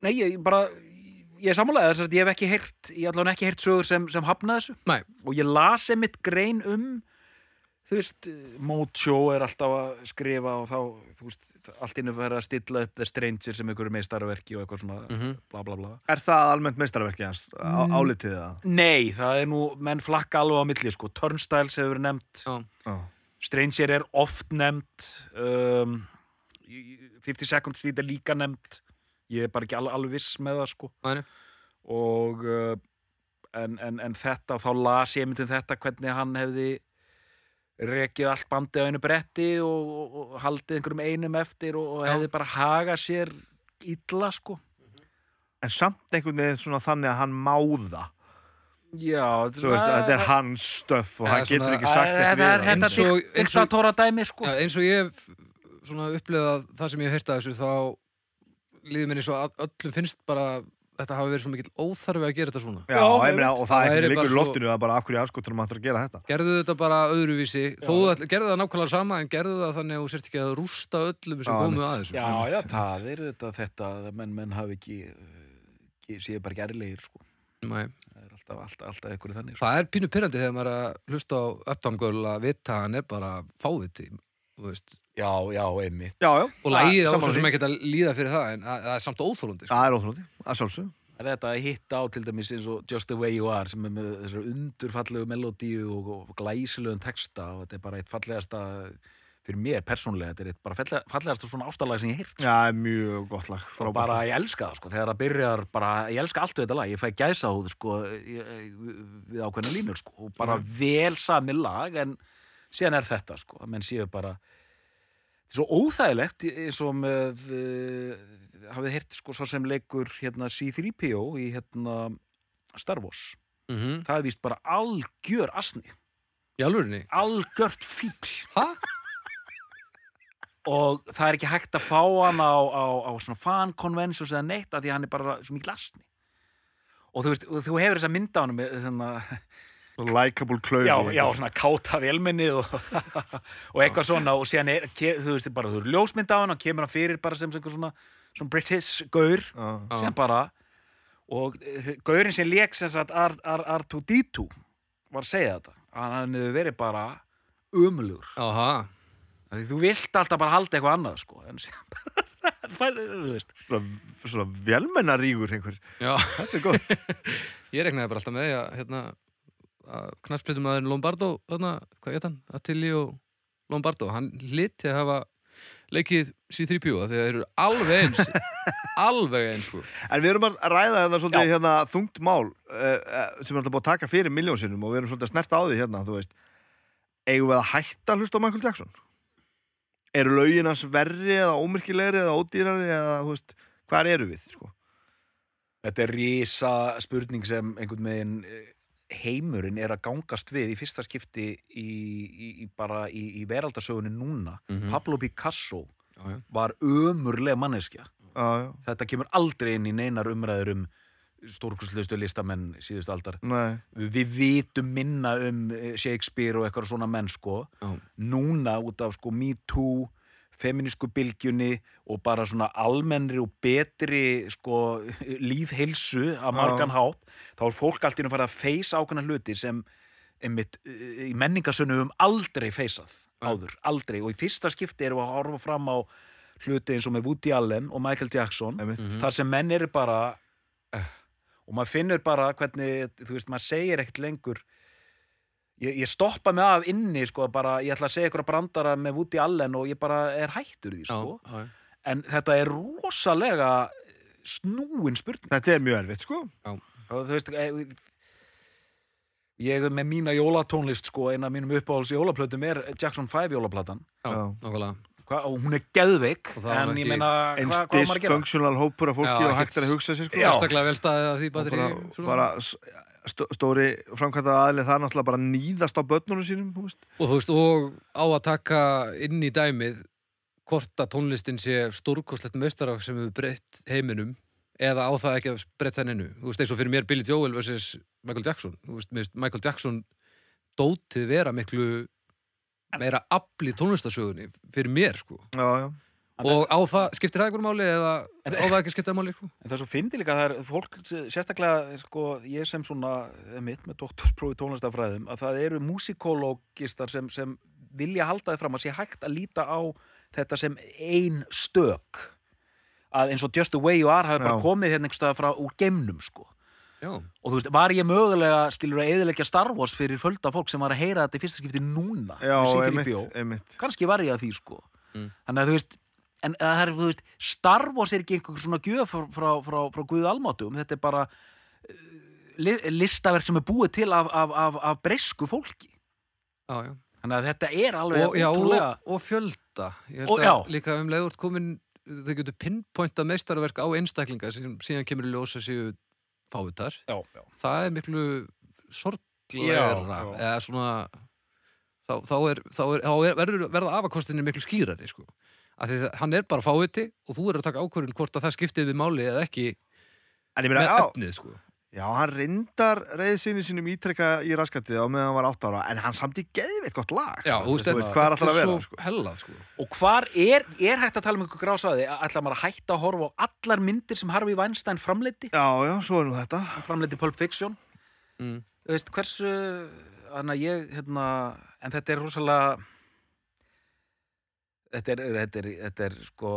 Speaker 2: Nei, ég bara Ég er sammálaðið þess að ég hef ekki heyrt Ég allavega ekki heyrt sögur sem, sem hafna þessu
Speaker 1: Nei.
Speaker 2: Og ég las einmitt grein um Þú veist, Mojo er alltaf að skrifa og þá, þú veist, allt innu verið að stilla upp The Stranger sem ykkur er með starverki og eitthvað svona,
Speaker 1: mhm
Speaker 2: bla bla bla.
Speaker 3: Er það almennt meistarverkið hans? Á, álitið það?
Speaker 2: Nei, það er nú, menn flakka alveg á milli, sko. Turnstiles hefur verið nefnt,
Speaker 1: já,
Speaker 3: Já.
Speaker 2: Stranger er oft nefnd um, 50 Second Street er líka nefnd ég er bara ekki alveg, alveg viss með það sko
Speaker 1: það er
Speaker 2: og uh, en, en, en þetta þá las ég myndin þetta hvernig hann hefði rekið allt bandi á einu bretti og, og, og haldið einhverjum einum eftir og, og
Speaker 1: Já.
Speaker 2: hefði bara hagað sér illa sko
Speaker 3: En samt einhvern veginn svona þannig að hann máða.
Speaker 2: Já,
Speaker 3: Þú veist, þetta er hans stöf og
Speaker 1: Eða
Speaker 3: hann getur
Speaker 1: svona-
Speaker 3: ekki sagt
Speaker 2: þetta
Speaker 3: neitt
Speaker 2: er
Speaker 3: við það.
Speaker 2: þetta
Speaker 1: Eins og-
Speaker 2: dikt-
Speaker 1: eins og-
Speaker 2: diktatóra dæmi sko
Speaker 1: Já, eins og ég hef svona upplifað það sem ég hef heyrt af þessu þá líður mér eins og að öllum finnst bara þetta hafi verið svo mikill óþarfi að gera þetta svona
Speaker 3: Já, ég meina, og það
Speaker 1: Það
Speaker 3: er
Speaker 1: væri
Speaker 3: ekki líkur
Speaker 1: bara
Speaker 3: í
Speaker 1: svo-
Speaker 3: loftinu að bara af hverju anskotunum hann þarf að gera þetta.
Speaker 1: gerðu þetta bara öðruvísi þó þú ætl- gerðu það nákvæmlega sama en gerðu það þannig að þú sért ekki að rústa öllum sem
Speaker 3: Já,
Speaker 1: komu
Speaker 3: einmitt.
Speaker 1: að þessu
Speaker 2: Já,
Speaker 1: svona.
Speaker 2: já, það er þetta, þetta að menn, menn hafi ekki, eh, ekki séu bara gerlegir sko.
Speaker 1: Nei.
Speaker 2: það er alltaf, alltaf, alltaf ykkur þannig sko.
Speaker 1: það er pínu pyrrandi þegar maður er að hlusta á Uptown Girl að vita að hann er bara fáviti þú veist.
Speaker 2: Já, já, einmitt
Speaker 3: Já, já.
Speaker 1: og lægið á
Speaker 3: Sammála
Speaker 1: svo
Speaker 3: því.
Speaker 1: sem ekki að líða fyrir það en það það er samt óþólandi sko.
Speaker 3: Það er óþrótti, að sjálfsög.
Speaker 2: Það er þetta að hitta á til dæmis eins og Just the Way You Are sem er með þessar undurfallegu melodíu og, og glæsilegum texta og þetta er bara eitt fallegasta fyrir mér persónlega, þetta er eitt bara falle- fallegasta svona ástalag sem ég heyrt sko.
Speaker 3: Já, mjög gott lag,
Speaker 2: og
Speaker 3: frábært.
Speaker 2: bara
Speaker 3: lag.
Speaker 2: ég elska það sko, þegar það byrjar bara, ég elska allt við þetta lag, ég fæ gæsa húð sko, ég, við ákveðna línur sko, og bara vel sami lag en síðan er þetta sko, menn séu bara þetta er svo óþægilegt eins og með uh, hafið hirt sko svo sem leikur hérna C-3PO í hérna Star Wars,
Speaker 1: mm -hmm.
Speaker 2: það er víst bara algjör asni,
Speaker 1: í alvörinni
Speaker 2: algjört fíl
Speaker 1: ha?
Speaker 2: og það er ekki hægt að fá hann á, á, á svona fan conventions eða neitt af því að hann er bara svo mikið lasni og þú veist, og þú hefur þess að mynda hann með þannig
Speaker 3: Likeable
Speaker 2: eh,
Speaker 3: klaufi.
Speaker 2: já, já, svona káta velminnið og, og eitthvað svona og síðan er, ke, þú veist, bara þú eru ljósmynda á hann og kemur hann fyrir bara sem sem einhver svona, svona British gaur
Speaker 3: Já.
Speaker 2: síðan bara og eh, gaurinn sem lék sem sagt R- R- R2-D2 var að segja þetta að hann hefur verið bara umlugur
Speaker 1: Aha.
Speaker 2: Af því Þú vilt alltaf bara halda eitthvað annað sko en síðan bara fær- þú veist.
Speaker 3: Svona, svona velmennarígur einhver.
Speaker 1: já
Speaker 3: Þetta er gott.
Speaker 1: Ég regnaði bara alltaf með því að hérna, knarsplutumæðurinn Lombardo þarna, hvað geta hann? Attili og Lombardo, hann liti að hafa leikið C-3PO af því að þeir eru alveg eins alveg eins sko.
Speaker 3: En við erum að ræða þetta svolítið hérna, þungt mál uh, sem er alltaf búið að taka fyrir miljónsinnum og við erum svolítið að snerta á því hérna, þú veist. Eigum við að hætta að hlusta á Michael Jackson? eru lögin hans verri eða ómyrkilegri eða ódýrari eða þú veist, hvar eru við sko?
Speaker 2: Þetta er rísa spurning sem einhvern veginn eh, heimurinn er að gangast við í fyrsta skipti í, í, í bara í, í veraldasögunni núna.
Speaker 1: Mhm.
Speaker 2: Pablo Picasso
Speaker 1: Já, já.
Speaker 2: var ömurleg manneskja.
Speaker 3: já, já,
Speaker 2: Þetta kemur aldrei inn í neinar umræður um stórkurslustu listamenn síðust aldar.
Speaker 3: nei
Speaker 2: Við vitum minna um eh, Shakespeare og eitthvað svona menn sko.
Speaker 1: Já.
Speaker 2: Núna út af sko Me Too, feminísku bylgjunni og bara svona almennri og betri sko lífheilsu að margan hátt. Þá er fólk allt í einu farið að feysa ákveðna hluti sem einmitt, eh, í menningarsönnum höfum aldrei feysað áður, aldrei. Og í fyrsta skipti erum við að horfa fram á hluti eins og með Woody Allen og Michael Jackson
Speaker 3: einmitt.
Speaker 1: Mhm.
Speaker 2: þar sem menn eru bara eh, og maður finnur bara hvernig þú veist, maður segir ekkert lengur ég, ég stoppa mig af inni sko, bara, ég ætla að segja ykkur að brandara með Woody Allen og ég bara er hættur í því sko.
Speaker 1: Já, já, já.
Speaker 2: en þetta er rosalega snúin spurning
Speaker 3: Þetta er mjög erfitt sko
Speaker 2: og, þú veist, eh, ég er með mína jólatónlist sko, eina af mínum uppáhalds jólaplötum er Jackson 5 jólaplatan
Speaker 1: Já,
Speaker 3: Já.
Speaker 1: nákvæmlega.
Speaker 2: Hva, og hún er geðveik
Speaker 1: Og það var
Speaker 2: en
Speaker 1: nú
Speaker 2: ég
Speaker 1: ekki
Speaker 2: meina
Speaker 3: eins
Speaker 2: hva, hvað á maður að gera
Speaker 3: dysfunctional hópur af fólki
Speaker 1: Já,
Speaker 3: og hægt er að
Speaker 1: ekkert-
Speaker 3: hugsa sér sko
Speaker 2: Já.
Speaker 1: Sérstaklega vel staðið að því
Speaker 3: Og
Speaker 1: bateri
Speaker 3: bara, bara s- stó- stóri framkvæmta aðli það er náttúrulega bara nýðast á börnunum sínum þú veist.
Speaker 1: Og þú veist, og á að taka inn í dæmið hvort að tónlistin sé stórkostlegt meistarák sem hefur breytt heiminum eða á það ekki að breytta henninu þú veist, eins og fyrir mér Billy Joel versus Michael Jackson þú veist, mér finnst Michael Jackson dótið vera miklu meira afl í tónlistasögunni fyrir mér, sko
Speaker 3: já, já.
Speaker 1: og á það, skiptir það einhverjum máli eða á það ekki skiptir það máli, sko
Speaker 2: En það er svo fyndi líka að það er fólk sérstaklega, sko, ég sem svona er mitt með doktorsprófi tónlistafræðum að það eru músikólógistar sem, sem vilja halda þið fram að sé hægt að líta á þetta sem ein stök að eins og Just the Way You Are hafi bara
Speaker 3: Já.
Speaker 2: komið hérna einhverstað frá úr geimnum, sko
Speaker 1: Já,
Speaker 2: og þú veist, var ég mögulega, skilur að eðilegja Star Wars fyrir földa fólk sem var að heyra þetta í fyrsta skipti núna
Speaker 3: já
Speaker 2: með City
Speaker 3: einmitt,
Speaker 2: Bíó?
Speaker 3: einmitt.
Speaker 2: kannski var ég að því sko
Speaker 1: Mm.
Speaker 2: þannig að þú veist en það er, þú veist, Star Wars er ekki einhver svona gjöf frá, frá, frá, frá Guðu Almátum þetta er bara eh, li, listaverk sem er búið til af, af, af, af breysku fólki
Speaker 1: já, já
Speaker 2: þannig að þetta er alveg
Speaker 1: og, já, og,
Speaker 2: ótrúlega
Speaker 1: og fjölda Ég
Speaker 2: Og-
Speaker 1: held
Speaker 2: já.
Speaker 1: að líka um leiðvort komin þau getur pinpointa meistarverk á einstaklinga sem síðan kemur í ljósa séu fávitar,
Speaker 2: já, já.
Speaker 1: það er miklu sorglegra
Speaker 2: Já, já.
Speaker 1: eða svona þá, þá, er, þá, er, þá er, verður, verða afakostinni miklu skýrari sko. af því að hann er bara fáviti og þú er að taka ákvörðun hvort að það skiptið við máli eða ekki
Speaker 3: en ég meina,
Speaker 1: með
Speaker 3: já,
Speaker 1: efnið sko.
Speaker 3: já, hann reyndar reyði sinni sínum ítrekka í raskatið á meðan hann var 8 ára en hann samt í geðveitt gott lag
Speaker 1: já,
Speaker 3: sko.
Speaker 1: og
Speaker 3: þú veist, hvað er alltaf að vera sko?
Speaker 1: sko. hellað sko.
Speaker 2: og hvar er, er hægt að tala um einhver grásaði ætla maður að hætta að horfa á allar myndir sem Harfi Weinstein framleiti
Speaker 3: já, já, svo er nú þetta
Speaker 2: hann framleiti Pulp Fiction
Speaker 1: Mm.
Speaker 2: þú veist hversu þannig að ég hérna en þetta er rosalega þetta er, þetta er, þetta er sko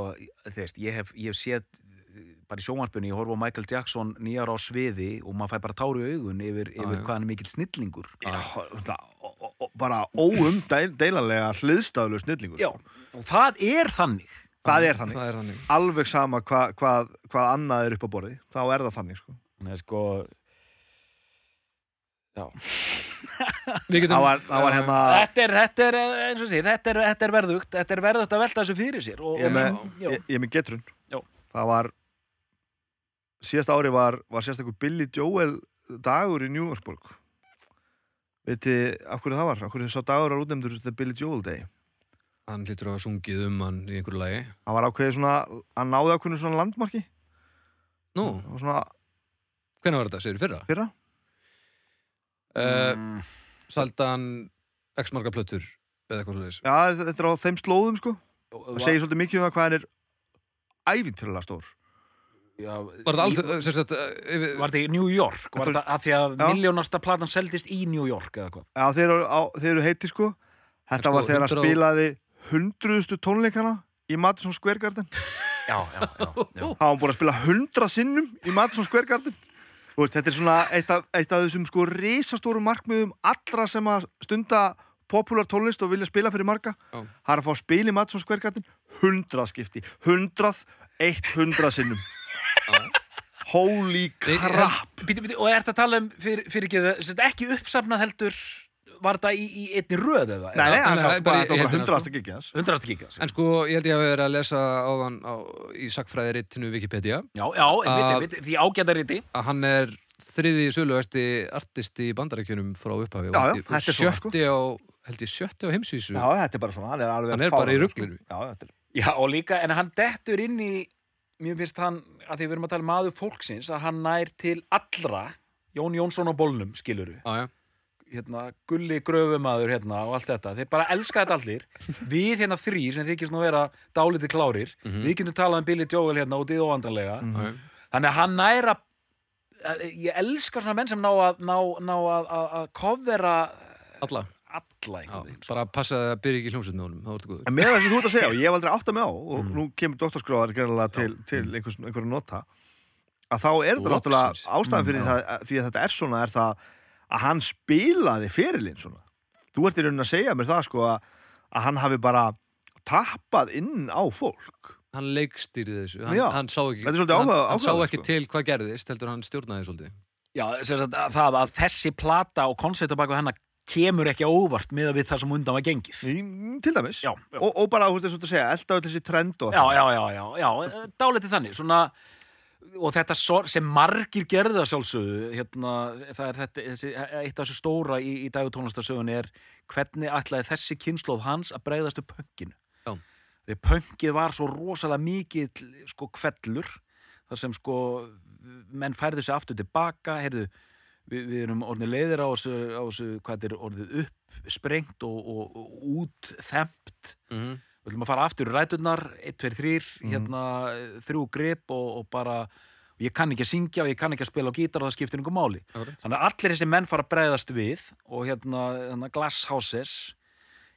Speaker 2: þú veist, ég hef, ég hef séð eh, bara í sjónvarpunni, ég horfa á Michael Jackson nýjar á sviði og maður fæ bara táru augun yfir, yfir
Speaker 1: já.
Speaker 2: hvað hann er mikill snillingur
Speaker 3: já, það, og, og, og, bara óumdeilanlega hliðstaflu snillingu
Speaker 2: já,
Speaker 3: sko.
Speaker 2: og það er þannig
Speaker 3: það er þannig
Speaker 1: það er þannig
Speaker 3: alveg sama hva, hvað, hvað annað er upp á borði þá er það þannig sko.
Speaker 2: þannig að sko
Speaker 1: Við getum-
Speaker 3: það var, það var hérna
Speaker 2: Þetta er, þetta er, eh, eins og sé, þetta er, þetta er verðugt, þetta er verðugt að velta þessu fyrir sér og,
Speaker 3: ég er með,
Speaker 2: og, já,
Speaker 3: ég, ég er með getrun
Speaker 2: Já.
Speaker 3: það var síðast ári var, var sérstakur Billy Joel dagur í New Yorkborg veitir, af hverju það var af hverju sá dagur var útnefndur The Billy Joel Day
Speaker 1: hann hlýtur að hafa sungið um hann í einhverju lagi
Speaker 3: hann var ákveðið svona hann náði ákveðinu svona landmarki
Speaker 1: Nú,
Speaker 3: og svona
Speaker 1: hvenær var þetta, segir fyrra?
Speaker 3: fyrra
Speaker 1: Uh,
Speaker 2: mm,
Speaker 1: Saldan X marga plötur eða eitthvað svo leiðis
Speaker 3: já, þetta er á þeim slóðum sko
Speaker 2: og,
Speaker 3: það segir svolítið mikið um það hvað hann er ævintýrlega stór
Speaker 2: já,
Speaker 1: Var þetta
Speaker 2: í-
Speaker 1: alveg, sem sagt eh, yfir-
Speaker 2: Var þetta í New York? Var
Speaker 3: Þetta-
Speaker 2: þetta af því að
Speaker 3: Já.
Speaker 2: miljónasta platan seldist í New York eða hvað?
Speaker 3: Já, þeir eru, á, þeir eru heiti sko Þetta
Speaker 1: En sko,
Speaker 3: var þegar hann
Speaker 1: 100 og-
Speaker 3: spilaði hundruðustu tónleikana í Madison Square Garden
Speaker 2: Já, já, já, já.
Speaker 3: Það var búin að spila hundra sinnum í Madison Square Garden Þú veist, Þetta er svona eitt af, eitt af þessum sko risastóru markmiðum allra sem að stunda popular tónlist og vilja spila fyrir marga
Speaker 1: Já.
Speaker 3: Það er að fá að spila í Madison Square Garden hundrað skipti, hundrað eitt hundrað sinnum Holy
Speaker 1: Þeir-
Speaker 3: crap
Speaker 2: Býtu, býtu, og er þetta að tala um fyrir, fyrir ekki, ekki uppsafnað heldur var þetta í, í einni röð eða?
Speaker 3: Nei, nei,
Speaker 1: nei,
Speaker 3: hann
Speaker 1: það er bara
Speaker 3: sagði bara
Speaker 1: í-
Speaker 3: að þetta var
Speaker 1: í-
Speaker 3: bara hundraðasta gigið hans.
Speaker 2: Hundrasta kíkja sko.
Speaker 1: En sko, ég held ég að vera að lesa áðan á, í sakfræðirittinu Wikipedia
Speaker 2: Já, já, einmitt, einmitt, því ágæta riti
Speaker 1: að hann er þriði söluvæsti artisti í bandarækjunum frá upphafi og
Speaker 3: Já, já,
Speaker 1: held ég-
Speaker 3: þetta er svona, sko.
Speaker 1: sjötti á, held ég sjötti á heimsvísu
Speaker 3: Já, þetta er bara svona, hann er alveg
Speaker 1: Hann er bara í
Speaker 3: fáránlegur, sko.
Speaker 1: ruglinu.
Speaker 3: Já, þetta er
Speaker 2: Já, og líka, en hann dettur inn í Mér finnst hann, að því við erum að tala um maður fólksins að hann nær til allra Jón Jónsson á bólnum, skiluru
Speaker 1: Já, já.
Speaker 2: hérna, gulli gröfumadur hérna og allt þetta, þeir bara elska þetta allir við hérna þrý sem þykist nú vera dálítið klárir, við getum talað um Billy Joel hérna út í óandanlega mm
Speaker 1: Já, já.
Speaker 2: þannig að hann næra ég elska svona menn sem ná að ná, ná að, að, að kofvera
Speaker 1: alla
Speaker 2: alla
Speaker 1: já,
Speaker 2: einhvern veginn
Speaker 1: bara passa að byrja ekki í hljómsveit með honum, þá ertu góður
Speaker 3: En með það sem þú ert að segja, og ég hef aldrei átt að með á og
Speaker 2: Mm.
Speaker 3: nú kemur doktorskráðar gerðilega til, til einhvers, einhverju nota að þá er þetta
Speaker 1: Loksins.
Speaker 3: náttúrulega ástæðan
Speaker 2: Mm,
Speaker 3: fyrir það að- því að þetta er svona er það að hann spilaði ferilinn svona Þú ert í raunin að segja mér það sko að, að hann hafi bara tappað inn á fólk
Speaker 1: hann leikstýrði þessu, hann,
Speaker 3: Já.
Speaker 1: hann sá ekki,
Speaker 3: Þetta er svolítið
Speaker 1: hann,
Speaker 3: áhuga-
Speaker 1: hann sá
Speaker 3: áhugavert,
Speaker 1: ekki
Speaker 3: sko.
Speaker 1: til hvað gerðist heldur hann stjórnaði svolítið
Speaker 2: Já, sem sagt, að það að þessi plata og koncept á baku hennar kemur ekki á óvart með að við það sem undan var gengið
Speaker 3: í, til dæmis
Speaker 2: Já, já.
Speaker 3: Og, og bara, þú veist, eins og þú ert að segja, elda öll þessi trend og
Speaker 2: Já, já, já, já, já, eh, dálítið þannig svona, og þetta sor- sem margir gerðu að sjálfsögðu hérna, það er þetta, þessi, eitt af þessu stóra í, í dagutónlistarsögun er hvernig ætlaði þessi kynnslóð hans að breyðast upp pönginu
Speaker 1: Já.
Speaker 2: því pöngið var svo rosalega mikið sko kvellur þar sem sko menn færðu sig aftur tilbaka heyrðu, við, við erum orðin leiðir á þessu, á þessu hvað þetta er orðið upp sprengt og, og, og útþempt
Speaker 1: mm
Speaker 3: Mhm.
Speaker 1: -hmm.
Speaker 2: við ætlum að fara aftur í ræturnar 1, 2, 3, hérna þrjú grip og, og bara og ég kann ekki að syngja og ég kann ekki að spila á gítar og það skiptir einhver máli
Speaker 1: Akkurat.
Speaker 2: þannig að allir þessi menn fara að bregðast við og hérna, hérna Glass Houses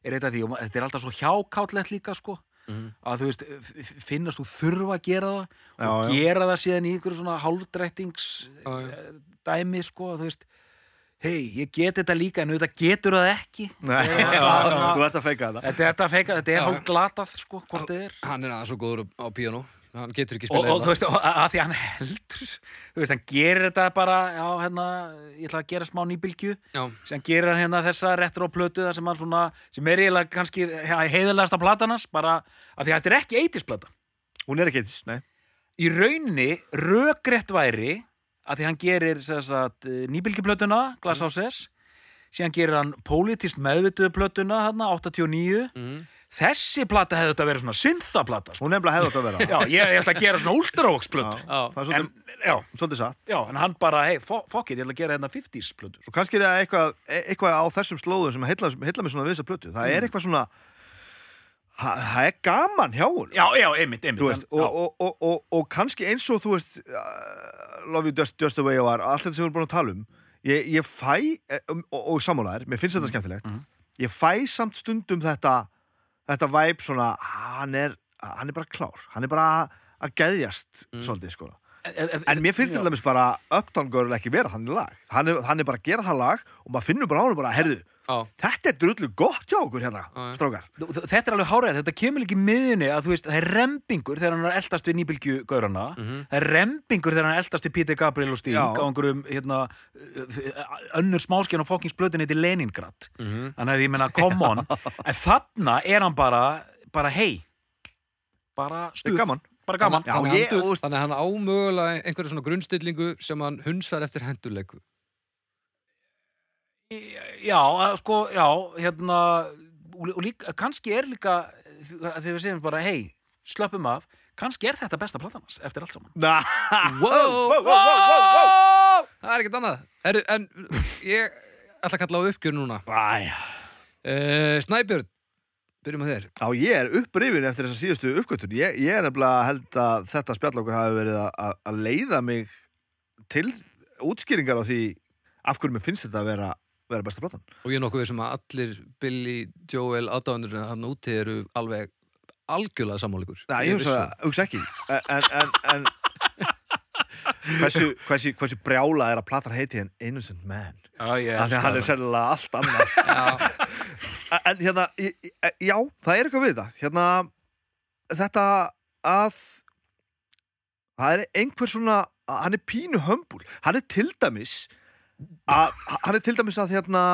Speaker 2: er eitt af því og ma- þetta er alltaf svo hjákátlegt líka sko
Speaker 1: Mhm.
Speaker 2: að þú veist, f- f- finnast þú þurfa að gera það og
Speaker 3: Já, já.
Speaker 2: gera það síðan í einhverju svona hálfdrættings
Speaker 1: Já, já.
Speaker 2: eh, dæmi sko, að þú veist hei, ég get þetta líka en auðvitað getur það ekki
Speaker 3: Nei,
Speaker 2: Ég- það-
Speaker 3: þú ert að feika þetta
Speaker 2: Þetta er þetta feika, þetta er hálf glatað sko, hvort þið er
Speaker 1: hann er aðeins svo góður á, á píano hann getur ekki
Speaker 2: og,
Speaker 1: spilað
Speaker 2: og þú veist, og, að að því hann heldur þú veist, hann gerir þetta bara já, hérna, ég ætla að gera smá nýbylgju
Speaker 1: já,
Speaker 2: sem gerir hann hérna þessa retro plötu þar sem hann svona, sem er eiginlega kannski heiðilegasta platan hans, bara að því að þetta er ekki eitisplata.
Speaker 3: Hún er ekki eins, nei
Speaker 2: Í rauninni rökrétt væri að því hann gerir sem sagt, nýbylgjuplötuna Glass Houses, síðan gerir hann politist meðvituðu plötuna hérna, 89,
Speaker 1: mm,
Speaker 2: þessi plata hefði þetta verið svona synthaplata, sko.
Speaker 3: Hún nefnilega hefði átt að vera
Speaker 2: Já, ég, ég ætla að gera svona ultravox-plötu.
Speaker 3: Já.
Speaker 1: já,
Speaker 3: Það er
Speaker 2: En,
Speaker 3: svolítið,
Speaker 2: já,
Speaker 3: svolítið satt
Speaker 2: Já, en hann bara, hei, fuck it, ég ætla að gera hérna 50s plötu sko.
Speaker 3: og kannski er það eitthvað, e- eitthvað á þessum slóðum sem heilla, heilla mig svona við þessa plötu
Speaker 2: Mm.
Speaker 3: það er eitthvað svona það það er gaman hjá hún
Speaker 2: Já, já, einmitt, einmitt
Speaker 3: veist,
Speaker 2: hann,
Speaker 3: og,
Speaker 2: já,
Speaker 3: og, og, og, og kannski eins og þú veist uh, Love You Just, Just The Way You Are allt þetta sem við erum búin að tala um ég, ég fæ, eh, um, og, og sammálaðir, mér finnst
Speaker 2: Mm.
Speaker 3: þetta skemmtilegt ég fæ samt stundum þetta þetta væp svona hann er, hann er bara klár, hann er bara að geðjast
Speaker 2: Mm.
Speaker 3: svolítið sko
Speaker 2: en, en,
Speaker 3: En mér finnst til dæmis bara Uptown Girl ekki vera þannig lag hann er, hann er bara að gera það lag og maður finnur bara á hann bara, herðu,
Speaker 1: já,
Speaker 3: þetta er drullu gott hjá okkur hérna,
Speaker 1: Já, já.
Speaker 3: strákar
Speaker 2: Þú- þú- Þetta er alveg hárið, þetta kemur líka í miðunni að þú veist, það er rembingur þegar hann er eldast við nýbylgjugaurana það er rembingur þegar hann er eldast við Peter Gabriel og Sting
Speaker 3: Mhm. Já.
Speaker 2: á einhverjum, hérna uh, önnur smáskjörn á fokkingsblötunni til Leningrad
Speaker 1: Mhm.
Speaker 2: þannig að ég meina, come on en þarna er hann bara bara, hei bara
Speaker 3: Þetta
Speaker 2: stuð,
Speaker 3: er gaman
Speaker 2: bara gaman
Speaker 3: Já,
Speaker 1: Þannig að
Speaker 3: ég,
Speaker 1: hann-
Speaker 3: og, þú veist,
Speaker 1: þannig að hann ámögulega einhverja svona grunnstillingu sem hann hunsar eftir henduleiku
Speaker 2: Já, að sko, já, hérna og og líka, kannski er líka að þegar við segjum bara, hei, slöpum af kannski er þetta besta platan hans eftir allt saman
Speaker 3: na,
Speaker 1: wow,
Speaker 3: wow, wow, wow,
Speaker 1: það er ekkert annað Heru, en ég ætla að kalla á uppgjör núna
Speaker 3: Æ,
Speaker 1: uh, Snæbjörn, byrjum að þér
Speaker 3: Já, ég er upprifin eftir þessa síðustu uppgötun ég, ég er nefnilega held að þetta spjall okkur hafi verið að- að að leiða mig til útskýringar á því af hverju mér finnst þetta að vera, vera besta platan
Speaker 1: og ég er nokkuð sem að allir Billy, Joel, aðdáðunir hann úti eru alveg algjörlega sammálíkur
Speaker 3: Nei, ég hugsa, hugsa ekki En, en, en, en hversu, hversu, hversu brjála er að platan heiti en Innocent Man
Speaker 2: Já, ég
Speaker 3: Þannig að hann er sennilega allt annað
Speaker 1: Já,
Speaker 3: En hérna, í- í- já, það er eitthvað við það Hérna, þetta að Það er einhver svona Hann er pínu hömbul Hann er til dæmis að, Hann er til dæmis að hérna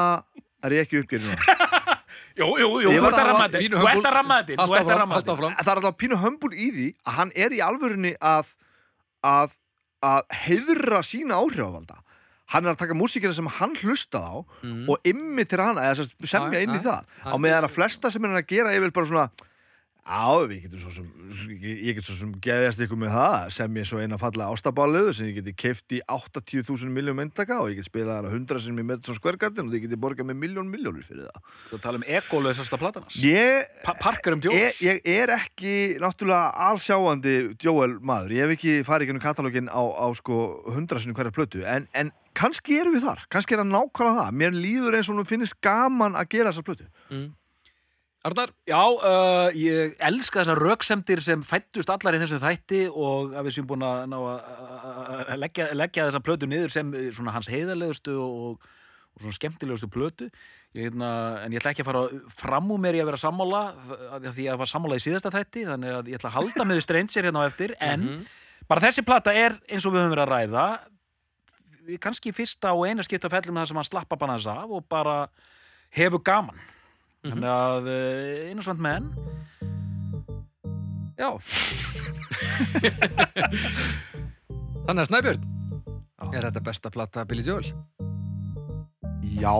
Speaker 3: er ég ekki uppgerið núna
Speaker 2: Jú, jú, jú,
Speaker 3: Ég
Speaker 2: þú
Speaker 3: var
Speaker 2: ert að
Speaker 3: að-
Speaker 2: ramma þetta inn,
Speaker 1: Pínu
Speaker 2: þú
Speaker 1: hömbul.
Speaker 2: ert að ramma þetta inn, þú
Speaker 1: Haltu
Speaker 2: ert að
Speaker 1: áfram,
Speaker 2: ramma
Speaker 1: haltu
Speaker 2: þetta inn.
Speaker 1: áfram.
Speaker 3: það er alltaf pínu hömbul í því að hann er í alvörunni að að, að heiðra sína áhrifavalda hann er að taka músíkina sem hann hlustað á og ymmi til hana eða sem sagt semja
Speaker 1: Já,
Speaker 3: inn í
Speaker 1: já.
Speaker 3: það á meðan að flesta sem er að gera ég vil bara svona Já, við getum svo sem, ég ég get svo sem geðjast ykkur með það sem ég svo eina falla ástabáliðu sem ég geti keift í 80.000 miljón myndaka og ég get spilað þar að 100 sem ég með svo skvergardin og ég geti borgað með miljón miljónur fyrir það.
Speaker 2: Þú tala um egolöðsasta platanas.
Speaker 3: Ég
Speaker 2: Pa Parker um djóð.
Speaker 3: ég, ég er ekki náttúrulega allsjáandi Joel maður, ég hef ekki farið ekki um katalógin á, á sko hundrasinu hverja plötu en, en kannski erum við þar, kannski er hann nákvæmlega það mér líður eins og hún finnist gaman að gera þessa plötu
Speaker 1: Arnar,
Speaker 2: Já, uh, ég elska þessar röksemdir sem fættust allar í þessum þætti og að við séum búin að, ná að, að- að leggja, leggja þessa plötu niður sem eh, svona hans heiðarlegustu og, og svona skemmtilegustu plötu ég, hefna, en ég ætla ekki að fara fram úr mér í að vera sammála af því að ég var sammála í síðasta þætti þannig að ég ætla að halda með streynsir hérna á eftir en bara þessi plata er eins og við höfum verið að ræða við kannski fyrsta og eina skipta fellum það sem hann slappa bara hans af og bara hefur gaman þannig að uh, innocent menn já
Speaker 1: þannig að Snæbjörn Er þetta besta plata Billy Joel?
Speaker 3: Já,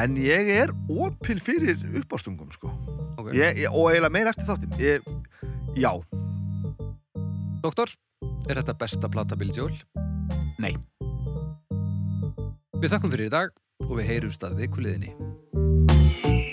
Speaker 3: en ég er opinn fyrir uppástungum sko
Speaker 1: Ok,
Speaker 3: ég, ég, og eiginlega meira eftir þáttin ég, Já,
Speaker 1: Doktor, er þetta besta plata Billy Joel?
Speaker 2: Nei.
Speaker 1: Við þakkum fyrir í dag og við heyrumst að vikuliðinni